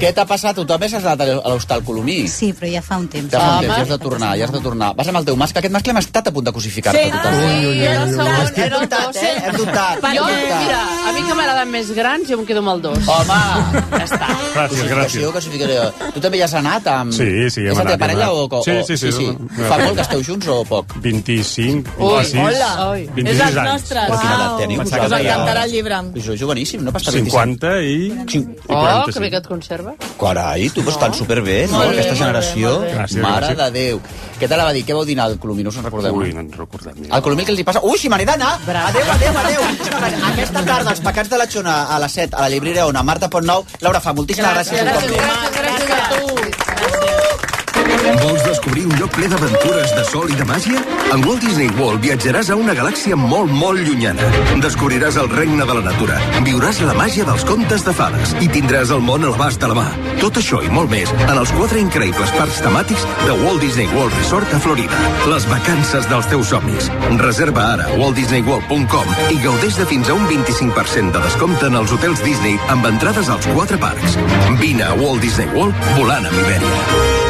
Què t'ha passat? Tothom és anat a l'Hostal Colomí. Sí, però ja fa un temps. Ja fa un temps, ja has de tornar, ja has de tornar. Vas amb el teu mascle, aquest mascle hem estat a punt de cosificar-te Sí, totalment. sí, era el segon, era el dos. eh? Hem dubtat, hem Jo, dubtat. mira, a mi que m'agraden més grans, jo em quedo amb el dos. Home! Gràcies, Cosificació, gràcies. cosificació. Tu també ja has anat amb... Sí, sí, hem És la teva anat, hem parella o... anat. o... Sí, sí, sí. sí, Sí. Fa molt que esteu junts o poc? 25, Ui, 26, hola. Ui. 26 És els anys. nostres. Però quina edat Uau. teniu Us vosaltres? encantarà el llibre. Jo joveníssim, no? Vas estar 50 i... Oh, 45. que bé que et conserva. Carai, tu vas tan superbé, no? Molt bé, Aquesta molt bé, generació. molt bé. Gràcies, Mare gràcies. de Déu. Què te la va dir? Què vau dinar al Colomí? No us en recordeu? eh? Ui, no ens recordem. Al Colomí què els hi passa? Ui, si me n'he d'anar! Adéu, adéu, adéu! Aquesta tarda, els pecats de la Xona, a les 7, a la llibreria Ona, Marta Pontnou. Laura, fa moltíssimes gràcies. un cop més. Vols descobrir un lloc ple d'aventures, de sol i de màgia? Al Walt Disney World viatjaràs a una galàxia molt, molt llunyana. Descobriràs el regne de la natura, viuràs la màgia dels contes de fades i tindràs el món al abast de la mà. Tot això i molt més en els quatre increïbles parcs temàtics de Walt Disney World Resort a Florida. Les vacances dels teus somnis. Reserva ara a waltdisneyworld.com i gaudeix de fins a un 25% de descompte en els hotels Disney amb entrades als quatre parcs. Vine a Walt Disney World volant amb Iberia.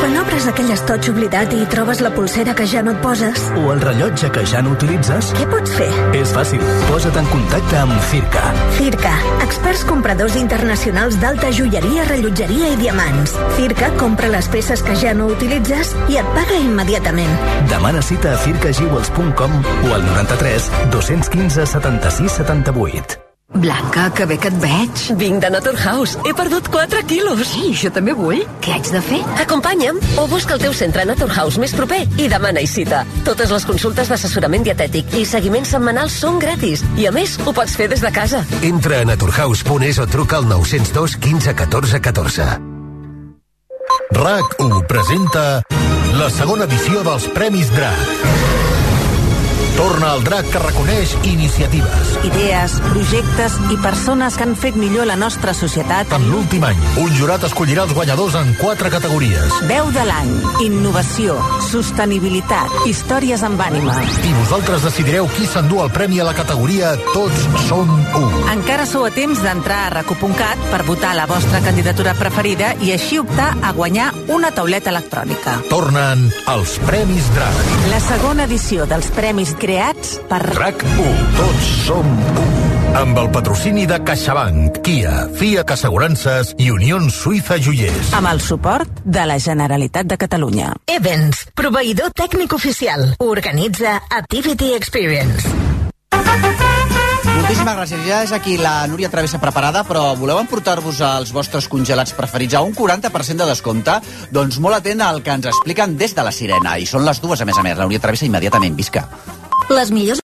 Quan obres aquell estoig oblidat i trobes la pulsera que ja no et poses? O el rellotge que ja no utilitzes? Què pots fer? És fàcil. Posa't en contacte amb Circa. Circa, experts compradors internacionals d'alta joieria, rellotgeria i diamants. Circa compra les peces que ja no utilitzes i et paga immediatament. Demana cita a circajewels.com o al 93 215 76 78. Blanca, que bé que et veig. Vinc de Naturhaus. He perdut 4 quilos. I jo també vull. Què haig de fer? Acompanya'm o busca el teu centre Naturhaus més proper i demana i cita. Totes les consultes d'assessorament dietètic i seguiments setmanals són gratis i, a més, ho pots fer des de casa. Entra a naturhaus.es o truca al 902 15 14 14. RAC1 presenta la segona edició dels Premis DRAC. Torna el DRAC que reconeix iniciatives. Idees, projectes i persones que han fet millor la nostra societat. En l'últim any, un jurat escollirà els guanyadors en quatre categories. Veu de l'any, innovació, sostenibilitat, històries amb ànima. I vosaltres decidireu qui s'endú el premi a la categoria Tots som un. Encara sou a temps d'entrar a recu.cat per votar la vostra candidatura preferida i així optar a guanyar una tauleta electrònica. Tornen els Premis DRAC. La segona edició dels premis creats per RAC1. Tots som un. Amb el patrocini de CaixaBank, Kia, Fiat Assegurances i Unió Suïssa Joiers. amb el suport de la Generalitat de Catalunya. Evans, proveïdor tècnic oficial. Organitza Activity Experience. Moltíssimes gràcies. Ja és aquí la Núria Travessa preparada, però voleu emportar-vos els vostres congelats preferits a un 40% de descompte? Doncs molt atent al que ens expliquen des de la Sirena. I són les dues, a més a més. La Núria Travessa immediatament visca. Les millors